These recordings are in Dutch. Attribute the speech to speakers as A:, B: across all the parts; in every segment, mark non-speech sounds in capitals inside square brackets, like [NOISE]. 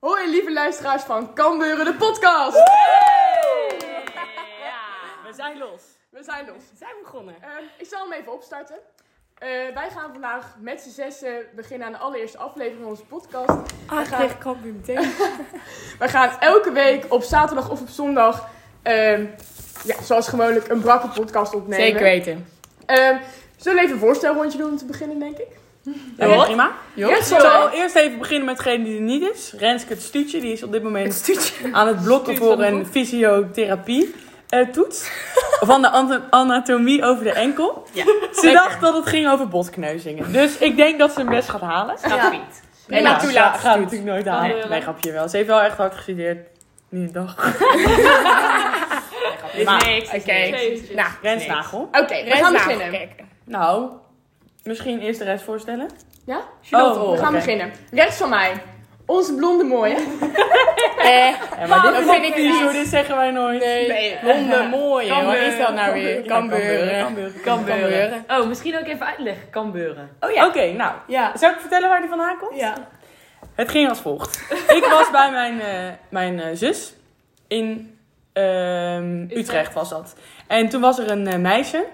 A: Hoi lieve luisteraars van Kambeuren de podcast!
B: Ja, we zijn los.
A: We zijn los.
B: We zijn begonnen.
A: Eh, ik zal hem even opstarten. Eh, wij gaan vandaag met z'n zessen beginnen aan de allereerste aflevering van onze podcast.
B: Ah,
A: ik kreeg
B: kramp meteen.
A: Wij gaan elke week op zaterdag of op zondag, eh, ja, zoals gewoonlijk, een brakke podcast opnemen.
B: Zeker weten.
A: Eh, zullen we even een voorstelrondje doen om te beginnen, denk ik?
B: Ja,
C: Ja,
B: prima.
C: Jo, ik
A: Yes, hoor.
C: zal eerst even beginnen met degene die er niet is. Renske het Stuutje, die is op dit moment aan het blokken
B: Stuut van
C: voor
B: de
C: een
B: broek.
C: fysiotherapie eh, toets van de ant- anatomie over de enkel.
B: Ja,
C: Ze dacht dat het ging over botkneuzingen. Dus ik denk dat ze hem best gaat halen.
B: Gaat niet. En
C: Ja,
B: dan toelaat.
C: ze Gaat het natuurlijk nooit halen.
B: Nee.
C: Nee, grapje wel. Ze heeft wel echt hard gestudeerd. Niet een dag.
B: Is
C: Maar,
B: niks. Oké.
A: niks.
B: Nou,
C: Rens Nagel.
A: Oké, we
B: Rest
A: gaan
B: na
A: beginnen.
B: kijken.
C: Nou, misschien eerst de rest voorstellen.
A: Ja?
C: Charlotte
A: We
C: Rol.
A: gaan
C: Oké.
A: beginnen. Rechts van mij, onze blonde mooie.
B: Eh,
C: Ja, maar
B: dat
C: dit
B: vind
C: vind
B: ik
C: ik
B: niet.
C: niet zo. Dit zeggen wij nooit.
B: nee, [LAUGHS] honden, mooi. hè, Wat is dat nou weer? Kambeuren.
C: Kambeuren.
B: Kambeuren.
D: Oh, misschien ook even uitleggen. Kambeuren.
B: Oh
C: Oké,
B: ja.
C: nou.
B: Ja.
C: Zou ik vertellen waar die vandaan komt?
B: Ja.
C: Het ging als volgt. ik was bij mijn, eh, mijn eh, zus in ehm, Utrecht was dat. En toen was er een eh, meisje.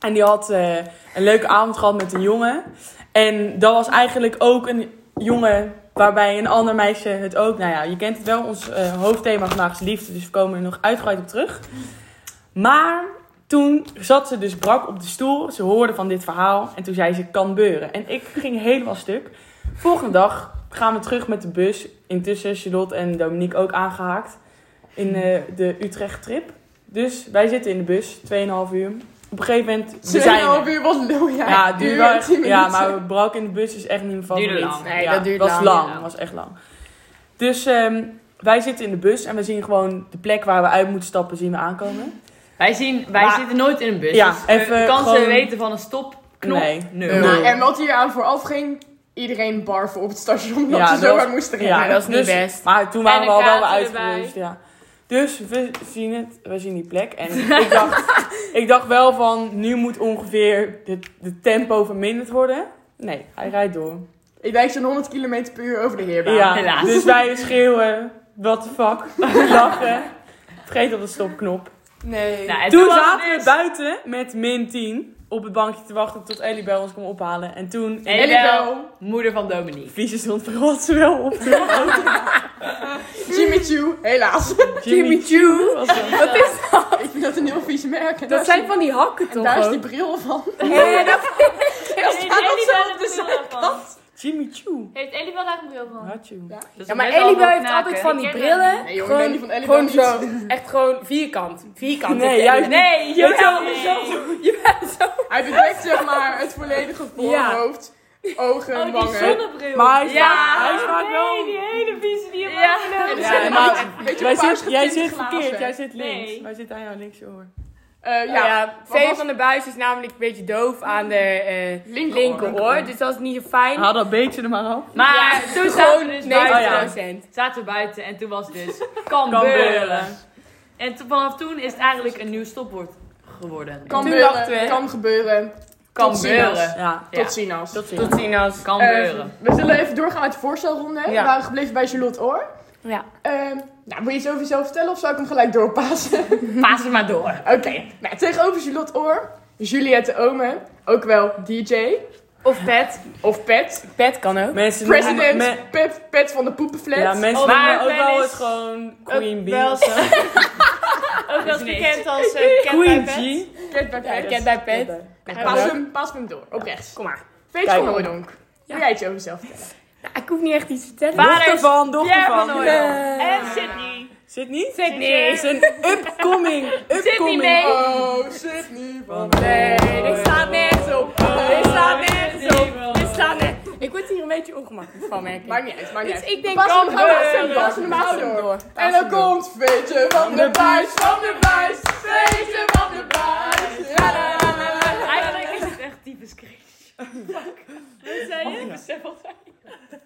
C: En die had eh, een leuke avond gehad met een jongen. En dat was eigenlijk ook een jongen waarbij een ander meisje het ook... Nou ja, je kent het wel. Ons eh, hoofdthema vandaag is liefde. Dus we komen er nog uitgebreid op terug. Maar toen zat ze dus brak op de stoel. Ze hoorde van dit verhaal. En toen zei ze, kan beuren. En ik ging helemaal stuk. Volgende dag gaan we terug met de bus. Intussen Charlotte en Dominique ook aangehaakt. In eh, de Utrecht-trip. Dus wij zitten in de bus, 2,5 uur. Op een gegeven moment, we zijn er.
A: Tweeënhalf uur, wat Oh lul jij.
C: Ja, het
A: Uur,
C: duurde wel echt-
A: tien
C: ja,
A: minuten.
C: maar brak in de bus is echt niet mijn favoriet.
D: Duurde lang.
B: Nee,
C: Ja,
B: dat duurt
C: was
B: lang.
D: Ja.
C: was echt lang. Dus ehm, wij zitten in de bus en we zien gewoon de plek waar we uit moeten stappen, zien we aankomen.
B: [LAUGHS]
D: Wij, zien, wij
C: Maar-
D: zitten nooit in een bus.
C: Ja,
D: dus we-
C: even
D: kansen
C: gewoon-
D: weten van een stopknop.
C: Nee.
D: Nul.
C: Nul.
A: Nou, en wat hier aan vooraf ging, iedereen barven op het station omdat
C: Ja,
A: ze zo
C: dat-
A: hard moesten rennen.
B: dat is niet
C: dus-
B: best.
C: Maar toen
B: En
C: waren we
B: een
C: al wel weer
B: kaartje erbij.
C: uitgerust, ja. Dus we zien het, we zien die plek. En ik
B: [LAUGHS]
C: dacht, ik dacht wel van, nu moet ongeveer de, de tempo verminderd worden. Nee, hij rijdt door.
A: Ik denk zo'n 100 km per uur over de heerbaan.
C: Ja,
D: helaas.
C: dus wij schreeuwen, what the fuck, [LAUGHS] lachen. Vergeet op de stopknop.
B: Nee.
D: Nou, en
C: toen
D: was het
C: zaten we
D: dus-
C: buiten met min 10 op het bankje te wachten tot Ellie bij ons kwam ophalen. En toen...
D: En
A: Ellie
D: wel,
A: Bel,
D: moeder van Dominique.
C: Vieze stond verrot ze wel op de
B: [LAUGHS]
C: auto.
A: Jimmy Choo, helaas. [LAUGHS]
B: Jimmy Choo.
C: was er.
B: Wat is
A: ik vind dat een heel vies merk. En daar
B: dat?
A: is
B: zijn van die hakken
A: die-
B: toch
A: daar is die
B: ook?
A: bril van. [LAUGHS]
B: Nee, dat
D: Heeft
B: staat
D: Ellie
B: ook zo
D: wel
B: op
D: een
B: de
D: bril daarvan?
C: Jimmy Choo.
D: Heeft Ellie wel daar een bril van?
C: Had you.
D: Dus
B: Ja,
D: we
B: maar
D: moeten
B: Ellie
D: allemaal
B: heeft
D: knaken.
B: altijd van die
D: Ik ken
B: brillen.
D: hem.
A: Nee, joh, ik
B: gewoon,
A: ben die van Ellie
B: gewoon
A: wel
B: zo. Echt gewoon vierkant. Vierkant.
C: Nee,
B: heeft
C: jij-
B: Ellie.
D: Nee,
B: Je
D: jawel,
B: bent
D: nee.
B: zo- Je bent zo.
A: Hij bedekt zeg maar het
B: [LAUGHS]
A: volledige voorhoofd, ogen,
D: Oh, die
A: wangen.
D: zonnebril.
C: Maar hij is
D: ja,
C: vaak- hij is vaak
D: nee,
C: wel-
D: die hele vieze die je
B: Ja. nou,
A: En er
C: Ja,
A: zitten
C: maar-
A: ook een beetje
C: Wij
A: paars
C: zit, jij
A: getinte
C: zit
A: glazen.
C: verkeerd, jij zit links.
D: Nee.
C: Wij zitten aan jou links, hoor.
A: Eh,
B: Ja,
A: ja,
B: Vee
A: was-
B: van de Buis is namelijk een beetje doof aan de eh
A: Linkeroor.
B: linkeroor. Dus dat is niet zo fijn.
C: Haal dat beetje er maar af.
D: Maar
B: Ja,
D: toen zaten
B: gewoon
D: we dus
B: 90%.
A: Oh,
D: buiten.
B: procent.
D: Zaten we buiten en toen was het [LAUGHS] dus
C: Kambeuren.
D: kambeuren. En to- vanaf toen is het eigenlijk een nieuw stopwoord geworden.
A: kan,
B: Toen dachten
A: gebeuren,
B: we-
A: kan gebeuren. Tot ziens.
D: Kambeuren.
C: Ja,
D: Ja.
A: Tot ziens.
C: dat zie
B: Tot zien als.
A: [LAUGHS]
D: Kambeuren.
A: Eh, we zullen even doorgaan met de voorstelronde.
B: Ja.
A: We waren gebleven bij Charlotte Oor.
B: Ja.
A: Ehm, nou, wil je iets over jezelf vertellen of zou ik hem gelijk doorpassen?
D: Paas het maar door.
A: Oké, nou, tegenover Charlotte Oor, Juliette Ome, ook wel DJ
B: Of pet.
A: of Pet.
B: Pet kan ook.
C: Mensen
A: President,
C: noemen me-
A: Pet, Pet van de Poepenflat.
C: ja,
B: Oh,
C: mensen
D: maar
C: noemen me ook wel
D: Glennis-
C: eens gewoon Queen Bee.
B: wel
C: of zo.
B: Ook wel
D: eens gekend
B: als
C: Queen G.
A: Cat bij Pet.
B: Cat bij Pet.
A: Nou, pas, hem, pas hem door, op rechts.
B: Kom maar.
A: Peet
C: Kijk
A: van
C: maar.
A: Hooydonk, wil jij iets over jezelf vertellen?
B: Nou, ik hoef niet echt iets te vertellen.
C: Dochter van, dochter
D: Pierre van
C: van.
D: Hooydonk.
B: Eh,
D: En Sydney.
C: Sydney?
B: Sydney.
C: is een upcoming. upcoming.
B: mee.
A: Oh, Sydney van
C: Nee,
A: Dijk.
B: dit staat nergens op. Dit staat nergens op. Dit staat nergens Ik word hier een beetje ongemakkelijk van, merk ik.
A: Maakt niet uit, maakt niet
B: Dus
A: uit.
B: ik denk
A: Pas hem
B: kan
A: gewoon door,
B: beuren.
A: pas hem maar door.
B: Pas
A: En dan komt Veetje van de Buis, van de Buis, Veetje van de Buis. Ja, la, la, la, la.
D: Eigenlijk is het
B: Oh.
D: echt typisch cringe. Wat zei je? Ik besef wat hij-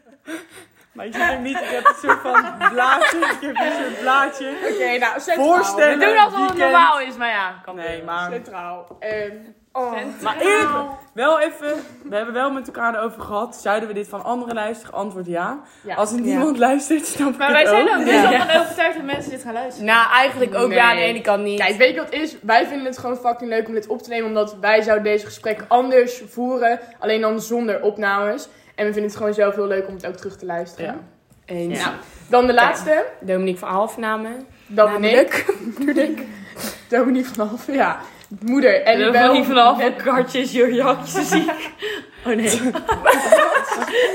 C: Maar ik zeg hem niet, ik heb een soort van blaadje. Ik heb een soort blaadje.
A: Oké, nou, centraal.
C: Voorstellen.
D: Doe dat het
C: weekend.
D: normaal is, maar ja. Kan
C: Nee,
D: wel.
C: maar
A: Centraal. Ehm, oh.
D: Maar
C: eerlijk, wel even. We hebben wel met elkaar erover gehad. Zouden we dit van anderen luisteren? Antwoord ja.
A: Ja.
C: Als het niemand luistert, snap ik
D: Maar
C: het
D: wij zijn
C: ook.
D: er dus al van overtuigd dat mensen dit gaan luisteren.
B: Nou, eigenlijk ook ja,
C: Nee.
B: nee, die kan niet.
A: Kijk, weet je wat het is? Wij vinden het gewoon fucking leuk om dit op te nemen. Omdat wij zouden deze gesprekken anders voeren. Alleen dan zonder opnames. En we vinden het gewoon zelf heel leuk om het ook terug te luisteren.
C: Ja.
B: Eens.
A: Nou, dan de laatste.
B: Dominique van Halfnamen.
A: Dat ben ik. [LAUGHS]
B: Namelijk.
A: Natuurlijk. Dominique van Halve, ja. Moeder. En ik
D: ben
A: ben...
D: niet vanaf. Mijn kartje is je jakje ziek. [LAUGHS] Oh nee.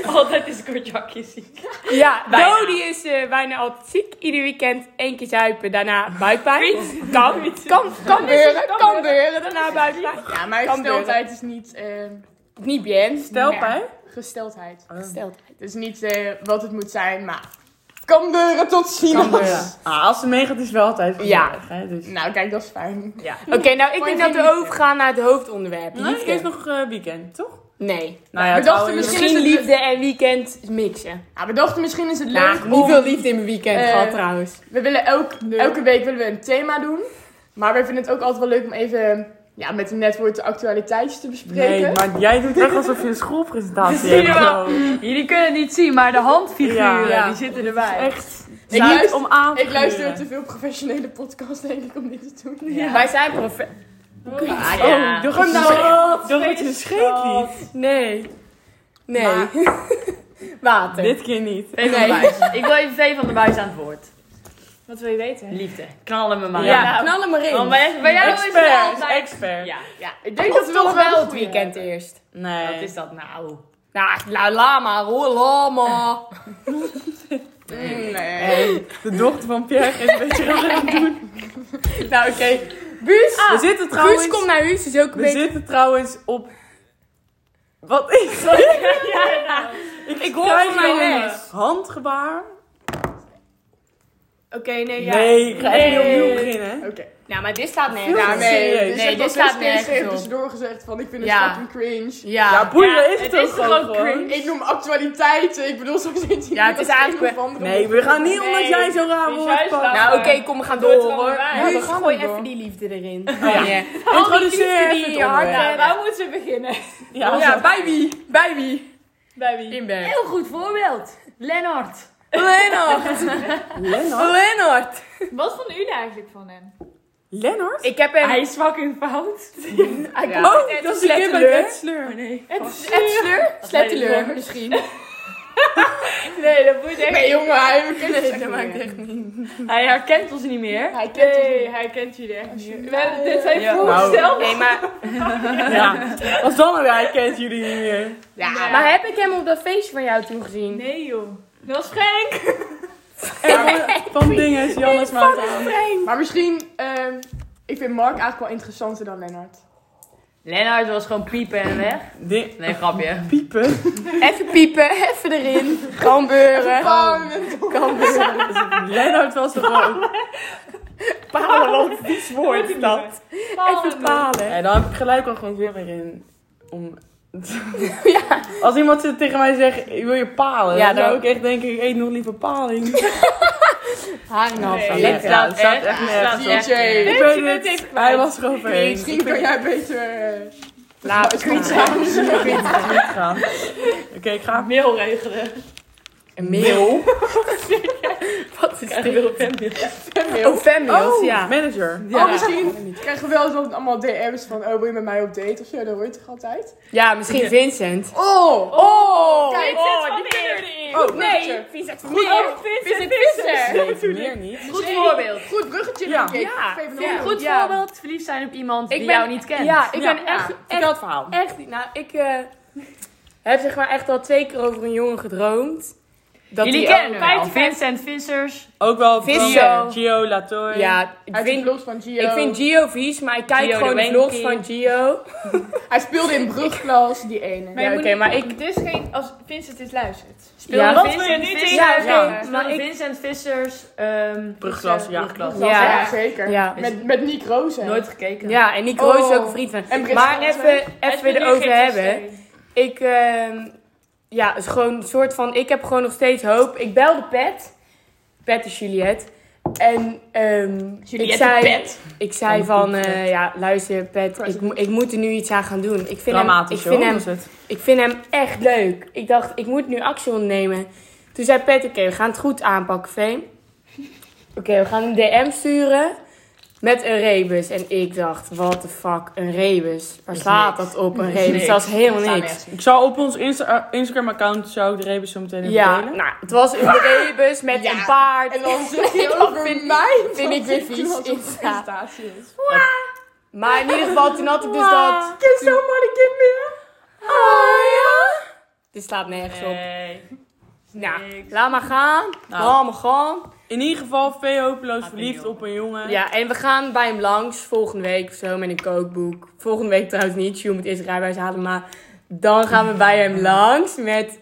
D: Altijd is kortjakje ziek.
B: Ja,
D: Bijna.
B: Dodie is eh, bijna altijd ziek. Ieder weekend één keer zuipen, daarna buikpijn. Kan, kan,
A: Kan
B: kan dus.
A: gebeuren, kan gebeuren.
B: Daarna buikpijn.
A: Ja, maar
B: Kan
A: gesteldheid is niet... ehm,
B: Niet bien.
C: Stel bij.
A: gesteldheid.
B: Stelt.
A: Het is niet eh, wat het moet zijn, maar... Kan deuren tot ziens.
C: Ah, als ze meegaat is het wel altijd
B: Ja.
C: gezellig, hè, dus.
A: Nou, kijk, dat is fijn.
B: Oké, nou ik
A: Vond je
B: denk dat
A: die
B: we overgaan naar het hoofdonderwerp.
C: Nou,
B: Liefde.
C: Liefje is nog eh, weekend, toch?
B: Nee.
C: Nou ja,
A: we dachten
C: trouwens-
A: misschien,
B: Misschien
A: is het...
B: liefde en weekend mixen.
A: Ja, we dachten misschien is het
B: Nou,
A: leuk
B: niet
A: om...
B: veel liefde in mijn weekend
A: Eh,
B: gehad trouwens.
A: We willen elk,
B: Nee.
A: elke week willen we een thema doen. Maar we vinden het ook altijd wel leuk om even ja, met een netwoord de actualiteitjes te bespreken.
C: Nee, maar jij doet [LAUGHS] echt alsof je een [LAUGHS] schoolpresentatie hebt.
D: Ja.
C: gewoon.
D: Jullie kunnen het niet zien, maar de handfiguren
C: Ja.
D: die zitten erbij.
C: Echt.
A: Ik
C: zaad
A: luister-
C: om aan te
A: Ik luister
C: gluren.
A: te veel professionele podcasts, denk ik, om dit te doen.
B: Wij zijn profe...
D: Ah,
C: Oh,
D: ja.
C: door het
B: nou-
C: nou, door het een scheetlied.
B: Nee. Nee.
A: Maar-
B: [LAUGHS] Water.
C: Dit keer niet.
D: Vee van
B: Nee.
D: de Buis. [LAUGHS] Ik wil even Vee van de Buis aan het woord.
A: Wat wil je weten?
D: Liefde. Knallen me Oh, maar.
B: Ja, knallen maar in.
D: Want bij, bij jou is het
C: Expert,
D: altijd...
C: expert.
D: Ja.
A: Ja, ik denk
B: Of
A: dat we
B: toch wel het
A: goeie
B: weekend
A: hebben.
B: eerst.
C: Nee.
D: Wat is dat nou?
B: Nou, la, la maar hoor, la maar.
A: Nee.
C: De dochter van Pierre is een beetje raar aan het doen.
B: nou, oké. Buus,
C: we zitten
B: Buus
C: trouwens,
B: komt naar huis, is ook een
C: we
B: beetje...
C: zitten trouwens op... Wat [LAUGHS] is dat?
B: Ik,
C: Krijg
B: van
C: je
B: mijn
C: een
B: les.
C: Handgebaar?
B: Oké, nee,
C: Nee, ik ga echt niet
B: Nee.
C: opnieuw beginnen.
A: Oké.
B: Nou, maar dit staat nergens.
C: Veel
A: Ja, nee.
C: serieus.
A: Dus
B: Nee,
A: nee,
B: dit
A: dit
B: staat
A: staat nergens
B: nergens
A: even
B: op.
A: tussendoor gezegd van ik vind het
B: Ja.
A: fucking cringe.
C: Ja,
B: Ja.
C: boeien is
D: het
C: het ook
D: is toch
C: gewoon.
D: ook
C: gewoon.
D: cringe?
A: Ik noem actualiteiten, ik bedoel soms niet
B: Ja, het is eigenlijk-
C: Nee, we gaan niet omdat
D: Nee,
C: jij zo raar
D: is
C: wordt.
D: juist
C: Paul.
D: waar.
B: Nou, oké, kom, we gaan
D: Doe het
B: door,
D: er
B: hoor.
D: allemaal bij.
B: Ja,
C: Nu
B: we
C: gaan we
B: gooi
C: door.
B: even die liefde erin.
C: ja.
B: Ja.
C: Introduceer
B: liefde
C: even
B: die
C: het
B: hard-
C: onderwerp.
B: Ja.
D: waar moeten we beginnen?
C: Ja,
B: Ja,
C: zo.
B: bij wie? Bij wie?
D: Bij wie?
A: [LAUGHS]
B: Inberg.
D: Heel goed voorbeeld. Lennart.
B: Lennart.
C: Lennart?
B: Lennart.
E: Wat vonden jullie eigenlijk van hem?
C: Lennart?
B: Ik heb hem...
D: Hij is fucking fout.
C: Oh, dat is een keer bij
B: Slechteleur.
C: Wetsler. Nee.
B: Sleur?
D: weet ik
B: Sleur
D: nog.
B: misschien.
D: Nee, dat moet echt.
A: Nee, jongen, hij kent het
B: Nee,
A: echt
B: dat
A: niet
B: maakt
A: meer.
B: echt niet.
D: Hij herkent ons niet meer.
A: Hij kent het
E: Nee,
A: niet.
E: hij kent jullie echt niet.
A: We hebben- dit
E: dit
A: zijn
E: zijn
D: Ja.
E: voorgesteld.
B: Nee, maar,
C: Ja. [LAUGHS] Als dan een hij kent jullie niet meer.
A: Ja,
E: Nee.
B: maar heb ik hem op dat feestje van jou toen gezien?
E: Nee joh. Dat is Frank.
C: Ja, Van dingen is Jannes maar aan.
A: Maar misschien, ehm, ik vind Mark eigenlijk wel interessanter dan Lennart.
D: Lennart was gewoon piepen en weg.
C: Ding.
D: Nee, grapje.
C: Piepen.
B: Even piepen, even erin. Kan beuren. Kan beuren.
C: Lennart was toch
B: [LAUGHS]
C: ook.
B: Palen, vies woord is dat. Even
E: Palendoek.
B: palen.
C: Ja, dan heb ik gelijk al geen zin meer in.
B: [LAUGHS]
C: Om... Als iemand zit tegen mij zegt, ik wil je palen?
B: Ja,
C: Ja, dan
B: dan-
C: zou ik echt denken, ik eet nog liever
B: [LAUGHS]
C: paling.
B: Haringhalve.
D: Nee,
C: Ja,
D: dit
C: ja,
D: slaat
C: het staat
D: echt-
C: echt
D: het
C: nergens
D: slaat
C: op.
D: echt
A: DJ.
D: nergens op.
C: Ik
B: je
C: weet
B: bent
C: het,
B: even
C: hij was er overheen. Ik
A: Misschien kan jij beter. eh
B: Laat
A: het goed samen
B: [LAUGHS]
C: weet het niet gaan. Oké, ik ga.
D: Mail regelen.
B: Een mail. Wat is dit? Oh, fanmails,
C: Oh,
B: ja.
C: manager.
A: Oh, misschien krijgen we wel eens altijd allemaal DM's van: Oh, wil je met mij op date of zo? Dat hoor je toch altijd?
B: Ja, misschien Vincent.
A: Oh!
B: Oh!
A: Kijk,
D: Oh, die
A: oh
B: Nee,
A: bruggetje.
B: Vincent van
A: Goed,
B: Meer.
A: oh,
B: Vincent Visser.
C: Nee, meer niet.
D: Goed voorbeeld.
A: goed bruggetje.
C: Ja.
A: denk ik.
B: Ja,
A: Even
B: ja.
A: een-
D: Goed
B: Ja.
D: voorbeeld. Verliefd zijn op iemand
B: Ik
D: die
B: ben-
D: jou niet kent.
B: Ja, ik ben
C: Ja.
B: echt,
C: Ik
B: echt
C: had het verhaal.
B: Echt niet. Nou, ik eh, heb zeg maar echt al twee keer over een jongen gedroomd. Dat
D: Jullie
B: die
D: kennen
B: ook-
D: hem wel.
B: Vijf-
D: Vincent Vissers.
C: Ook wel
B: Visio.
C: Gio, Gio Latoy.
B: Ja, ik
A: Hij vindt
B: vind,
A: los van Gio.
B: ik vind Gio vies, maar ik kijk
D: Gio de
B: gewoon de
D: Wenkie.
B: vlogs van Gio.
A: Hij speelde in brugklas, die ene.
E: Maar je
B: Ja,
E: moet
B: oké,
E: niet-
B: maar ik-
E: Dit is geen... Als Vincent dit luistert.
D: Speelde
B: Ja.
D: ja,
B: Wat
E: wil je
D: Vincent
E: nu
D: Vissers.
E: tegen
B: Ja,
E: mij
B: oké,
D: Ja,
B: maar
D: maar
B: ik...
D: Vincent Vissers. ehm
C: Brugklas, ja.
D: Brugklas.
B: Ja.
A: Ja, zeker.
B: Ja.
A: Met, met Nick Rozen.
D: Nooit gekeken.
B: Ja, en Nico is
A: Oh.
B: ook een vriend van
A: En Britt
B: Maar
A: Fransen.
B: even, even weer erover hebben. Ik, ehm, ja, is gewoon een soort van, ik heb gewoon nog steeds hoop. Ik belde Pet. Pet is Juliette. En ehm ik zei, Ik zei van, eh, ja, luister Pet, ik, mo- ik moet er nu iets aan gaan doen. Ik vind hem, ik
C: Dramatisch,
B: vind
C: hoor,
B: hem,
C: was het.
B: ik vind hem echt leuk. Ik dacht, ik moet nu actie ondernemen. Toen zei Pet, oké, we gaan het goed aanpakken, Veen. Oké, we gaan een DM sturen met een rebus. En ik dacht, what the fuck, een rebus? Waar slaat dat op, een rebus?
D: niks.
B: Dat is helemaal
A: Staan
B: niks.
A: nergens.
C: Ik zou op ons Insta- eh, Instagram-account zou ik de rebus zo meteen even
B: Ja,
C: delen.
B: nou, het was een
A: [LAUGHS]
B: rebus met
A: Ja.
B: een paard.
A: En
B: [LAUGHS]
A: dan zeg je over mij. [LAUGHS] Vind ik weer vies.
B: Ik sta-
A: prestatie [LAUGHS] is.
B: Maar in ieder geval, toen had ik dus dat.
A: Ken zo'n mannenkind meer? Oh ja.
B: Dit slaat nergens op.
A: Eh,
D: Nee.
B: Nou,
D: Niks.
B: laat maar gaan.
C: Nou.
B: Laat maar gaan.
C: In ieder geval, veel hopeloos
D: Ah,
C: verliefd
D: ben je
C: op een jongen.
B: Ja, en we gaan bij hem langs volgende week of zo met een kookboek. Volgende week trouwens niet. Sjoe moet eerst een rijbewijs halen. Maar dan gaan we bij hem langs met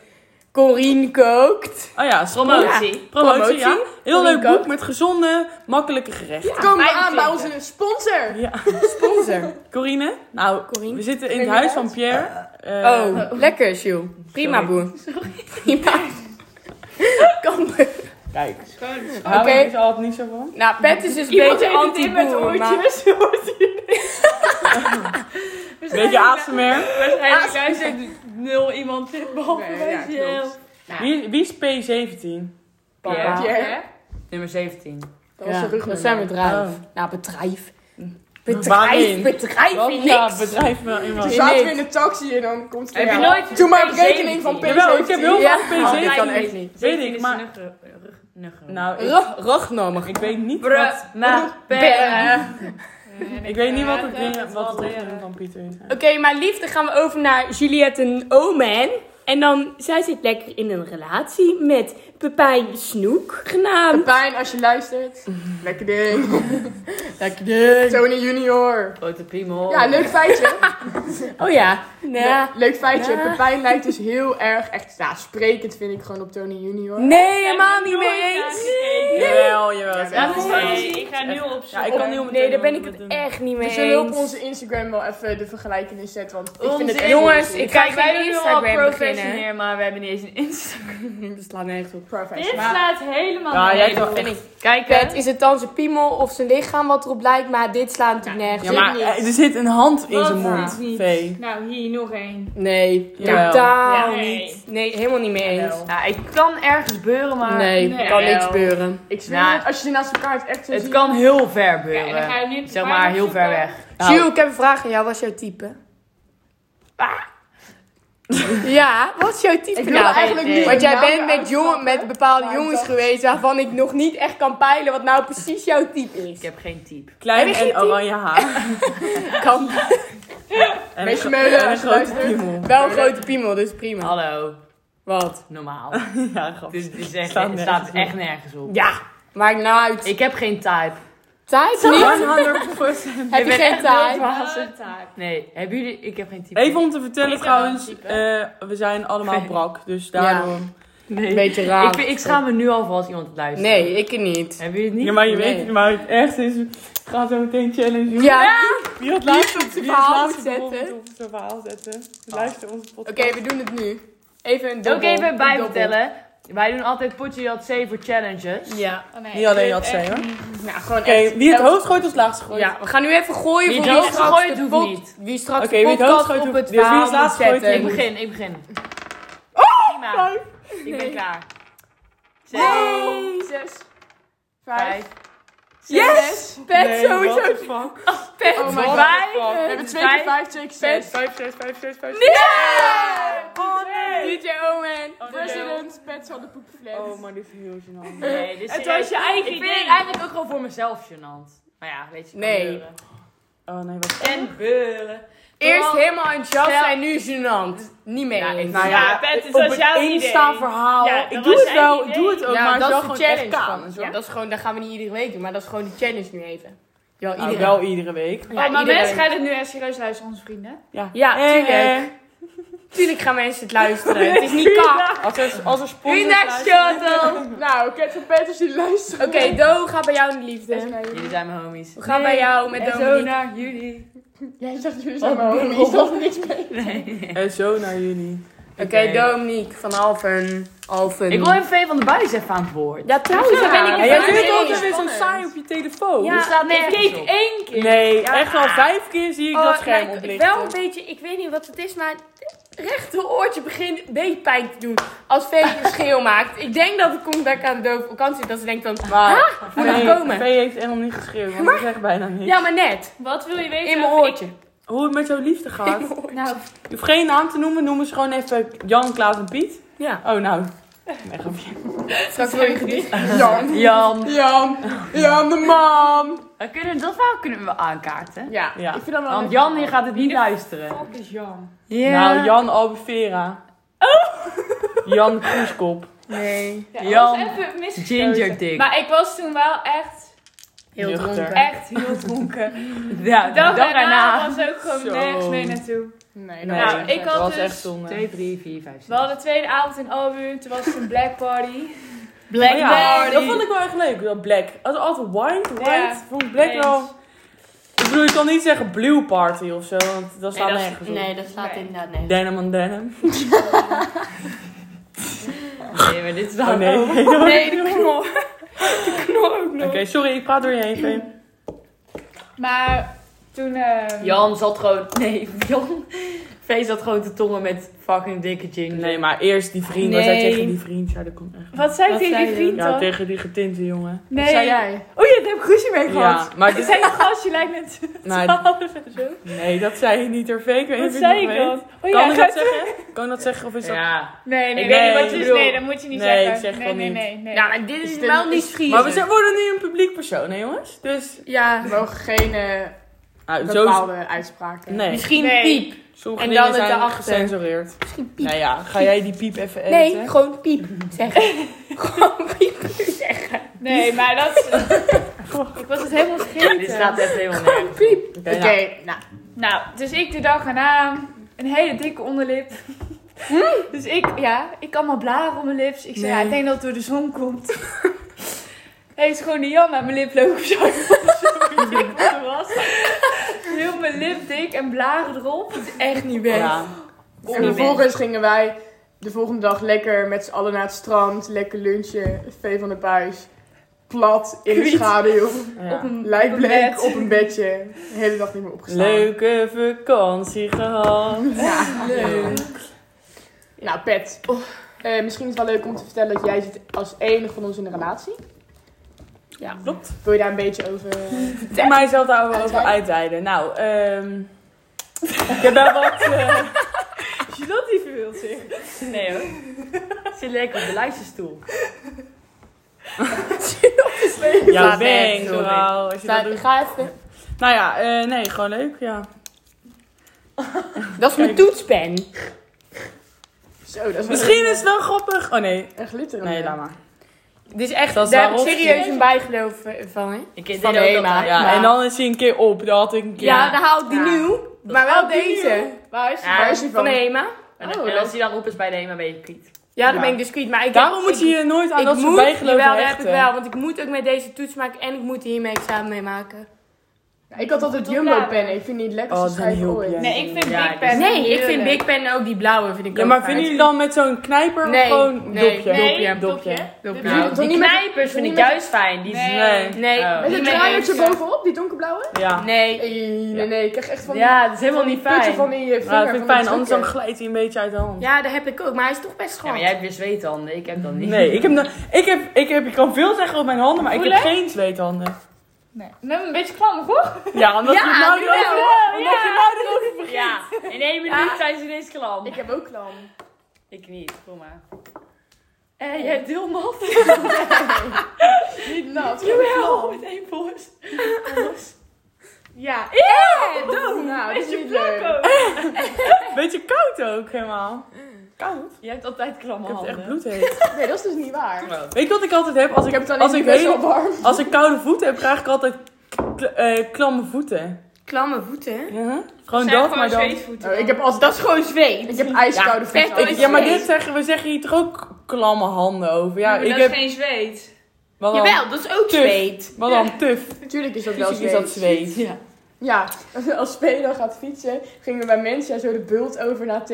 B: Corine kookt.
C: Oh ja, promotie.
D: Promotie.
C: Promotie, ja.
B: Promotie.
C: Heel
B: Promotie
C: leuk boek
B: ook.
C: met gezonde, makkelijke gerechten.
A: Kom maar aan
D: 25.
A: bij onze sponsor.
B: Sponsor.
C: Corine, nou,
B: Corine.
C: we zitten in
A: Ben je
C: het huis
A: uit?
C: van Pierre. Eh,
B: Oh, lekker Sjoe. Prima boe. Prima. [LAUGHS] Kan
C: Kijk,
A: Schoon.
C: hou
B: Oké.
C: ik dus altijd niet zo van.
B: Nou, Pet is dus een
E: Iemand
B: beetje
E: heeft het in met
B: anti-boer. maar-
E: oortjes.
C: Beetje ASMR.
B: Ah,
D: Waarschijnlijk luistert nul iemand dit, behalve
A: Nee, ja,
D: wij zelf.
C: Wie, wie is P17?
B: Papa.
D: Pierre.
A: Pierre.
D: Nummer 17.
A: Dat was
B: Ja,
A: de rug.
B: dat zijn bedrijf.
C: Oh.
B: Nou, bedrijf.
C: Waarin?
B: Bedrijf, bedrijf
C: Wat
B: in
C: ja,
B: niks.
C: bedrijf wel in
A: Toen
C: wat.
B: Nee,
A: zaten we
B: niks.
A: in de taxi en dan komt
D: Heb
A: Ja.
D: je nooit
A: Doe maar een
D: P17?
A: berekening van P17.
C: Jawel, ik heb heel
B: Ja.
C: veel
B: Oh,
C: P17.
B: dat kan echt niet.
C: Weet ik, maar...
D: Nou,
C: Nou, ik,
B: Rug, rugnummer.
C: ik weet niet wat...
D: bruh, maar
B: Bruh.
C: Ik weet niet wat het ding- wat het richting van Pieter is.
B: Oké, maar liefde gaan we over naar Juliette en Omen. En dan, zij zit lekker in een relatie met Pepijn Snoek, genaamd.
A: Pijn als je luistert. Lekker ding.
B: Lekker ding.
A: Tony Junior.
D: Grote piemel.
A: Ja, leuk feitje.
B: Oh [LAUGHS] ja. Nou.
A: Le- Leuk feitje.
B: Ja.
A: Pepijn lijkt dus heel erg, echt ja, sprekend vind ik gewoon op Tony Junior.
B: Nee, helemaal niet mee eens.
C: Jawel, jawel.
A: Jawel.
D: ik ga nu op
C: Ja, ik kan niet op
B: Nee, daar ben ik het echt niet mee
A: We zullen op
B: eens.
A: onze Instagram wel even de vergelijkingen zetten, want ik
D: Onze
A: vind het echt
B: Jongens,
A: onzin.
B: ik ga geen Instagram beginnen.
D: professioneel, maar we hebben niet eens een Instagram.
B: Dat slaat nergens op.
A: Perfect.
E: Dit
A: Maar
E: slaat helemaal
C: Ja, jij kan
B: Vind ik.
D: Kijk,
B: Pet, is het dan zijn piemel of zijn lichaam wat erop lijkt? Maar dit slaat natuurlijk
C: Ja,
B: nergens op.
C: maar eh, er zit een hand in
E: Wat
C: zijn mond,
E: nou? Niet.
C: Vee.
E: Nou, hier nog één.
B: Nee,
C: Jawel.
B: totaal
E: Ja, nee.
B: niet. Nee, helemaal niet mee eens.
A: Jawel.
D: Nou, het kan ergens beuren, maar...
B: Nee,
E: Nee.
B: kan
D: Jawel.
B: niks gebeuren.
A: ik zweer
D: Nou,
A: het, als je ze naast elkaar echt zo
D: Het
A: ziet,
D: kan heel ver
E: Ja, en dan ga
D: beuren.
E: je nu
D: Zeg maar heel ver
E: opzoeken.
D: weg.
C: Nou.
B: Gio, ik heb een vraag aan jou. Wat is jouw type? ja, wat is jouw type
A: Ik wil
B: nou?
A: eigenlijk
D: nee.
A: niet.
B: Want jij
A: namen
B: bent met, jongen,
A: uitspannen,
B: met bepaalde
A: maar
B: jongens
A: dat-
B: geweest waarvan ik nog niet echt kan peilen wat nou precies jouw type is.
D: Ik heb geen type.
C: Klein
B: Heb je geen
C: en
B: team?
C: oranje haar.
B: [LAUGHS] Kan
C: En
A: Beetje
C: een-
A: meulen,
C: en een
A: als je
C: grote
A: luistert.
C: piemel.
B: wel een grote piemel, dus prima.
D: Hallo.
B: Wat?
D: Normaal.
C: Ja, grappig.
D: Dus het is echt,
C: Staat
D: het
C: nergens
D: staat echt nergens op.
B: Ja, maakt nou uit.
D: Ik heb geen type.
B: Tijd
C: [LAUGHS]
B: niet?
C: 100%.
B: Heb je
D: ben
B: geen
D: echt
B: tijd?
E: Wat taak.
D: Nee, hebben jullie... Ik heb geen type.
C: Even om te vertellen
E: Ik ben
C: trouwens,
E: wel een
C: eh, we zijn allemaal brak, dus daardoor...
D: Nee.
B: Een beetje raar.
D: Ik, vind- ik schaam me nu al voor als iemand luistert.
B: Nee, ik niet.
D: Hebben jullie het niet?
C: Ja, maar je
B: Nee.
C: weet het, maar het echt is, het gaat zo meteen challenge. jongen.
B: Ja.
C: Wie het laatste op zijn
B: verhaal moet zetten. Oh.
C: Op zijn verhaal zetten. Luister onze podcast.
B: Oké, we doen het nu. Even een
D: Oké,
B: dubbel.
D: even
B: Een
D: bij
B: dubbel.
D: vertellen. Wij doen altijd potje dat C voor challenges.
B: Ja.
E: Oh, nee,
C: Niet alleen
E: ik
C: dat
E: weet
C: zij,
E: echt
C: hoor.
E: niet.
B: Nou, gewoon
C: Oké,
B: echt.
C: wie het
B: elk-
C: hoofd gooit als laatste gooit.
B: Ja, we gaan nu even gooien
D: Wie
B: voor
D: het
B: wie
D: hoogst
B: straks
D: gooit,
B: de
D: hoeft
B: pot-
D: niet.
B: Wie straks
C: Oké,
B: de
C: wie het
B: podcast
C: hoogst gooit,
B: op
C: hoeft-
B: het
C: dus wie het
B: verhaal
C: laatst
B: moet zetten.
C: gooit,
D: Ik
C: hoeft-
D: begin, ik begin. Oh! Prima. Ik ben klaar. Zes,
E: Zes.
D: vijf,
B: Yes! Pet
C: Nee, what
B: sowieso.
C: the fuck.
B: Pet.
A: Oh my god.
D: vijf,
A: We hebben twee keer vijf, twee keer zes.
C: Vijf, zes, vijf, zes, vijf.
B: Oh nee. DJ Owen.
A: President, Pets had de poepflat.
C: Oh, maar dit is heel gênant.
D: Nee, dit is
E: Het was je
D: serieus.
E: eigen
D: Ik vind
E: ding.
D: het eigenlijk ook wel voor mezelf gênant. Maar ja, weet je. kan
B: Nee.
D: gebeuren.
C: Oh nee, wat...
D: En beuren.
B: Eerst
D: Toch?
B: helemaal enthousiast
D: Stel-
B: en nu gênant. Niet mee
D: Ja, ik-
B: eens.
D: Nou
E: ja, Pet, het was jouw idee.
C: Insta-verhaal.
E: Ja, dat
C: ik doe
E: was
C: het
E: zijn
C: wel, ik
E: idee.
C: doe het ook,
B: Ja,
C: maar het
B: dat
C: is wel
B: is de
C: gewoon
B: challenge.
C: echt kaans,
B: van.
C: hoor.
B: Ja, dat is gewoon, dat gaan we niet iedere week doen, maar dat is gewoon de challenge nu even. Ja,
C: Nou,
B: iedereen.
C: wel iedere week.
B: Ja,
E: oh, maar
B: iedereen.
E: mensen gaan het nu echt serieus luisteren, onze vrienden.
C: Ja,
B: Ja,
C: Eh,
B: tuurlijk.
C: eh.
B: Tuurlijk gaan mensen het luisteren. Het is niet kak.
C: Als er, als er sponsors
B: Relax,
C: luisteren-
B: Jordan.
A: Nou, Cat en Pet, als jullie luisteren.
B: Oké, Do, ga bij jou in de liefde.
A: Oké.
D: Jullie zijn mijn homies.
B: We gaan bij jou met
D: En zo
B: Dominique.
D: naar jullie.
B: Oh,
A: Jij zegt jullie zijn maar homies, dat is niks mee.
D: Nee.
C: En zo naar jullie.
B: Oké, Oké, Dominique van Alphen. Alphen.
D: Ik wil even Vee van de Buis even aan het woord.
B: Ja, trouwens, daar ben ik
C: En
B: in
C: jij
B: Frankrijk.
C: doet
A: nee,
C: altijd weer zo'n
A: spannend.
C: saai op je telefoon.
B: Ja,
D: Die slaat nergens
E: keek
D: op.
E: één keer.
C: Nee, echt al vijf keer zie ik
B: Oh,
C: dat scherm
B: nou, ik-
C: oplichten.
B: Wel een beetje, ik weet niet wat het is, maar het rechter oortje begint een beetje pijn te doen. Als Vee een schreeuw [LAUGHS] maakt. Ik denk dat het komt dat ik aan de doof kant zit. Dat ze denkt van,
C: Maar
B: moet ik komen?
C: Vee heeft helemaal niet geschreeuwd, want ik zeg bijna niks.
B: Ja, maar net.
E: Wat wil je weten?
B: In mijn
E: over-
B: oortje.
C: Hoe het met jouw liefde gaat. Je
E: Ik, nou,
C: hoeft geen naam te noemen, noem eens gewoon even Jan, Klaas en Piet.
B: Ja.
C: Oh nou. Nee, grapje.
B: Straks [LAUGHS] wil je gedicht.
A: Jan.
D: Jan.
A: Jan. Jan de man.
D: Dan kunnen we dat wel kunnen we aankaarten.
A: Ja,
C: Ja.
A: ik vind dat wel
D: Want
A: leuk.
D: Jan die gaat het niet luisteren.
E: fuck is Jan.
C: Nou, Jan Albufera. Oh! [LAUGHS] Jan Kroeskop.
A: Nee.
E: Ja,
D: Jan.
E: dat was even misgekozen.
D: Ginger Dick.
E: Maar ik was toen wel echt,
B: Heel
C: Nuchter.
B: dronken.
E: echt heel dronken.
D: Ja,
E: De
D: de
E: dag
D: dag
E: daarna
D: erna.
E: was ook gewoon
C: Zo.
E: nergens mee naartoe.
A: Nee,
C: Nee,
A: was
E: Nou,
A: echt
E: ik
A: leuk.
E: had
C: Dat was
E: dus-
C: echt zonde.
D: 2, 3, 4, 5,
E: We hadden de tweede avond in Albuum, toen was het een black party.
D: Black
C: Maar ja, dat vond ik wel echt leuk, dat black. Als altijd white, white,
E: Ja.
C: vond ik black
E: Eens.
C: wel... Ik bedoel, je kan niet zeggen blue party of zo, want dat staat
D: dat is-
C: nergens op.
B: Nee, dat slaat
E: Nee.
B: inderdaad nergens.
C: Denim on denim.
D: Nee, maar dit is
C: Oh
D: wel...
C: nee.
E: [LAUGHS] Nee, de knor. De knor ook
C: [LAUGHS]
B: oh.
C: Oké,
E: nog.
C: sorry, ik praat door je heen, Vee.
E: Maar toen... ehm,
D: Jan zat gewoon... Nee, Jan... Vee zat gewoon te tongen met fucking dikke jingle.
C: Nee, maar eerst die vriend. Wat zei
E: Nee.
C: tegen die vriend? Ja, dat komt echt.
E: Wat zei ik
D: Wat
E: tegen
D: zei
E: die
D: je?
E: vriend
C: Ja,
E: dan?
C: tegen die getinte jongen.
E: Nee.
A: Zei jij?
E: Oh ja, daar heb ik ruzie mee gehad.
C: Ja,
B: [LAUGHS]
C: maar
E: Ik
C: dit,
E: zei, "Oh, gast, je lijkt net
C: nou,
E: [LAUGHS] twaalf en zo.
C: nee, dat zei je niet, Hervé. Ik weet niet
E: Wat
C: of je
E: zei
C: het
E: ik
C: nog
E: dan?
C: weet.
E: Oh
C: Kan
E: ja,
C: ik
E: ga
C: dat
E: terug.
C: zeggen? Kan ik dat zeggen of is dat...
D: Ja.
E: Nee, nee,
D: Ik
E: nee,
C: weet niet
E: nee,
C: wat je
E: dus
C: bedoelt.
E: nee, dat moet je niet
C: Nee,
E: zeggen.
C: ik zeg
E: nee,
C: dat
E: nee,
C: niet.
E: nee, nee.
B: Ja, maar dit is,
A: Is dit-
B: wel
A: is-
B: niet schieten.
C: Maar we zijn- worden nu een publiek persoon, hè jongens? Dus...
B: Ja,
A: We mogen geen eh,
C: Nou, zo...
A: bepaalde uitspraken.
C: Nee,
B: misschien
E: Nee.
B: piep.
C: sommige
B: En
C: dingen
B: dan het
C: zijn
B: erachter.
C: gecensureerd.
B: Misschien piep.
C: Nou ja, ga jij die piep even
B: Nee,
C: editen?
B: gewoon piep zeggen.
E: [LAUGHS]
B: gewoon piep zeggen.
E: Nee, maar dat...
B: [LAUGHS]
E: ik was het helemaal
D: Dit
E: vergeten.
D: staat echt helemaal nergens.
A: Piep.
C: Oké,
A: Oké,
C: nou.
A: nou.
E: Nou, dus ik de dag erna... Een hele dikke onderlip.
B: Hm?
E: [LAUGHS] Dus ik, ja, ik allemaal blaren om mijn lips. Ik zei, ja, ik denk dat het door de zon komt. [LAUGHS] Heeft gewoon de Jan aan mijn lip lopen. Zo [LAUGHS] zo dik als het was. Heel mijn lip dik en blaren erop. Het is echt niet best.
C: Ja.
A: En vervolgens gingen wij de volgende dag lekker met z'n allen naar het strand. Lekker lunchen. Vee van de buis. Plat in de
E: Kwiet.
A: schaduw.
E: [LAUGHS] Op een
A: Lijkbleek
E: bed.
A: op een bedje. De hele dag niet meer opgestaan.
C: Leuke vakantie gehad.
A: Ja,
C: leuk.
A: Nou, Pet.
E: Oh.
A: eh, misschien is het wel leuk om te vertellen dat jij zit als enige van ons in een relatie.
B: Ja,
C: klopt.
A: Wil je daar een beetje over...
C: Voor mijzelf daar wel over uitweiden. Nou, ehm ik heb daar wat... eh,
E: Als je dat niet verwilt zich.
D: Nee hoor. Zit lekker op de luisterstoel.
C: jouw bang,
B: Slaat nergens op,
C: zoal. Als je dat
B: Sta-
C: doet.
B: ga even.
C: Nou ja, eh, nee, gewoon leuk, ja.
B: Dat is mijn toetspen.
A: Zo, dat is wel
C: Misschien is het wel grappig. Oh nee,
A: een glitterende.
C: nee, laat maar.
B: Dit is echt,
C: Dat is
B: daar heb ik
C: waarop-
B: serieus een bijgeloof eh, van, hè?
D: Ik deed
B: Van
D: ook altijd.
B: Hema.
C: Ja,
B: Maar-
C: en dan is hij een keer op. Dat had ik een keer.
B: Ja, dan haal ik die
A: Ja.
B: nieuw, maar wel deze.
A: Waar is,
D: Ja,
A: waar is hij
B: Van
A: van?
B: Hema.
D: En,
A: Oh,
D: en
A: dat-
D: als hij dan op is bij de Hema, ben je kwiet.
B: Ja, dan
A: Ja.
B: ben ik dus kwiet. Maar ik
C: Daarom
B: ik-
C: moet je je nooit aan
B: ik
C: dat soort
B: moet,
C: bijgeloof
B: jawel, dat heb ik
C: hechten.
B: wel. Want ik moet ook met deze toets maken en ik moet hiermee examen mee maken.
A: Nou, ik had altijd
E: Tot
A: jumbo
E: later.
A: pennen. Ik vind die het lekkerste
C: Oh, dat
A: schrijven
C: heel
A: ooit.
C: blij.
E: Nee, ik vind
D: Ja,
E: Big
D: ik-
E: Ben
B: Nee, ik vind
E: heerlijk.
B: Big Pen ook die blauwe vind ik
C: Ja,
B: ook
C: maar
B: fijn.
C: vinden jullie dan met zo'n knijper
B: Nee,
C: of gewoon
B: nee,
C: dopje?
E: Nee,
B: Dopje,
E: dopje.
B: dopje.
A: Nou,
D: Nou,
A: toch
D: die
A: niet met-
D: knijpers
A: toch
D: vind
A: niet
D: ik
A: met-
D: juist fijn. Die
E: Nee.
C: Nee.
B: Nee,
D: Oh.
A: Met het
E: Nee,
A: draaiertje
E: deze.
A: bovenop, die donkerblauwe?
C: Ja.
D: Nee.
A: Nee, nee, nee. Ik krijg echt van die-
D: Ja, dat is helemaal niet
A: van die putje
D: fijn.
A: van die eh, vinger.
C: Ja, dat Nou, vind ik
A: van die
C: fijn, anders dan
A: drukker.
C: glijdt hij een beetje uit de hand.
B: Ja, dat heb ik ook, maar hij is toch best
D: Ja,
B: schoon.
D: maar jij hebt weer zweethanden. Ik heb dat niet.
C: Nee, ik heb, no- ik, heb, ik heb, ik kan veel zeggen op mijn handen, maar ik heb geen zweethanden.
E: Nee. Dan
B: Nou,
E: hebben we een beetje klam, hoor.
C: Ja, omdat
B: Ja,
C: je het nou
B: nu
C: niet over-
E: wel,
C: omdat je het nou erover begint.
D: Ja, in één minuut zijn ze ineens klam.
A: Ik heb ook klam.
D: Ik niet, kom maar.
E: Eh, jij deelmat.
A: Nou, Niet nat.
E: Jawel, met één pols.
A: Ja.
B: Oh,
A: Nou, dat is niet leuk.
E: Plakko.
C: Beetje koud ook helemaal. Koud?
E: Je hebt altijd klamme
C: Ik heb het echt
E: handen.
C: bloedheet.
A: Nee, dat is dus niet waar.
C: Weet je wat ik altijd heb?
A: Ik
C: Als ik,
A: heb het alleen
C: als
A: niet
C: ik,
A: best
C: hele-
A: wel warm.
C: als ik koude voeten heb, krijg ik altijd kl- eh, klamme voeten.
B: Klamme voeten, hè?
C: Ja? Gewoon dat, maar dan...
B: Nou,
A: Oh, ik heb als dat is gewoon zweet. Ik heb ijskoude
B: vet
A: voeten.
C: Ik- ja, maar dit zeggen, we zeggen hier toch ook klamme handen over. Ja, ik heb...
E: geen zweet.
C: Wat dan?
B: Jawel, dat is ook
C: Tuf.
B: zweet.
C: Wat dan? Tuf.
A: Natuurlijk is dat wel
C: Fysiek
A: zweet.
C: is dat zweet.
B: Ja.
A: Ja, [LAUGHS] als Spee dan gaat fietsen, gingen we bij Mensia zo de bult over naar TD.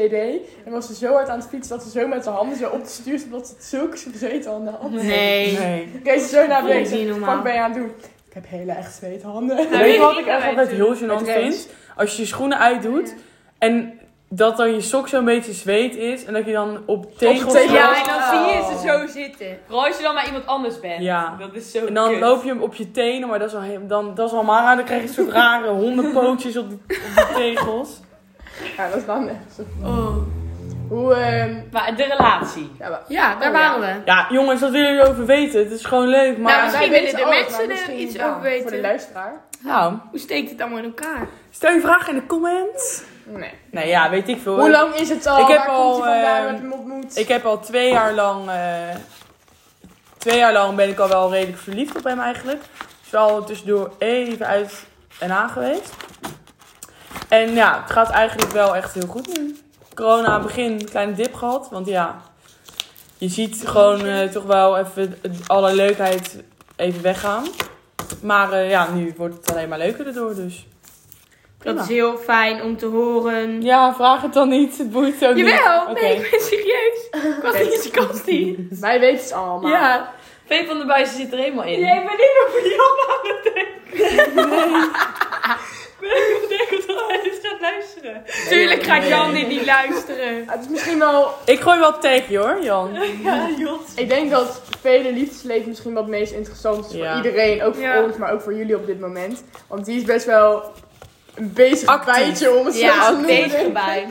A: En was ze zo hard aan het fietsen dat ze zo met haar handen zo op de stuur zat, dat ze zulke zweethanden had.
B: Nee.
C: Nee.
A: Kees is zo naar
B: Dat is niet
A: beneden.
B: normaal.
A: Wat ben je aan het doen? Ik heb hele echt zweethanden.
E: Nou,
C: Weet je
E: weet
C: wat
E: ik
C: ik echt
E: niet,
C: altijd heel
A: Met
C: gênant
A: race.
C: vind? Als je je schoenen uitdoet en dat dan je sok zo'n beetje zweet is en dat je dan op tegels...
A: tegel.
C: loopt.
D: Ja, en dan zie je ze zo
E: zitten.
D: Vooral als je dan maar iemand anders bent.
C: Ja.
D: Dat is zo
C: En dan
D: kut.
C: loop je hem op je tenen, maar dat is al, he- dan, dat is al maar Dan krijg je zo'n rare hondenpootjes op die, op die tegels.
A: Ja, dat is dan echt.
B: Oh.
A: Hoe, ehm,
D: Maar de relatie.
A: ja,
C: Nou,
A: maar-
B: Ja, daar
A: Oh,
B: waren we.
C: Ja, jongens, dat willen jullie over weten. Het is gewoon leuk,
A: Ja,
C: maar...
B: misschien
A: wij
B: willen
A: weten
B: de
A: alles,
B: mensen
A: maar
B: er
A: misschien,
B: iets
A: ja,
B: over weten.
A: Voor de luisteraar?
C: Nou,
B: Hoe steekt het allemaal in elkaar?
C: stel je vraag in de comments.
A: Nee.
C: Nee, ja, weet ik veel.
A: Hoe lang is het al?
C: Ik heb
A: Waar
C: al,
A: komt hij vandaan?
C: ehm,
A: Heb je hem ontmoet?
C: Ik heb al twee jaar lang... eh, twee jaar lang ben ik al wel redelijk verliefd op hem eigenlijk. Dus al tussendoor even uit en aan geweest. En ja, het gaat eigenlijk wel echt heel goed nu. Corona begin, een kleine dip gehad. Want ja, je ziet gewoon eh, toch wel even het- alle leukheid even weggaan. Maar eh, ja, nu wordt het alleen maar leuker erdoor dus.
B: Dat
C: Prima.
B: is heel fijn om te horen.
C: Ja, vraag het dan niet. Het boeit ook niet.
D: Jawel,
C: Oké.
D: nee, ik ben serieus. Ik was niet eens kastie.
A: Wij weten het allemaal.
D: Ja. Vee van de Buizen zit er helemaal in.
E: Jij bent niet meer voor jou.
D: Ik denk dat hij dus gaat luisteren. Tuurlijk gaat Jan dit niet luisteren.
A: Het is misschien wel...
C: Ik gooi wel tegen je hoor, Jan.
D: Ja, Jos.
A: Ik denk dat vele liefdesleven misschien wel het meest interessant is voor
C: Ja.
A: iedereen. Ook voor
D: Ja.
A: ons, maar ook voor jullie op dit moment. Want die is best wel een bezig
C: Actief.
A: bijtje om het zo
D: Ja,
A: te noemen.
D: bij.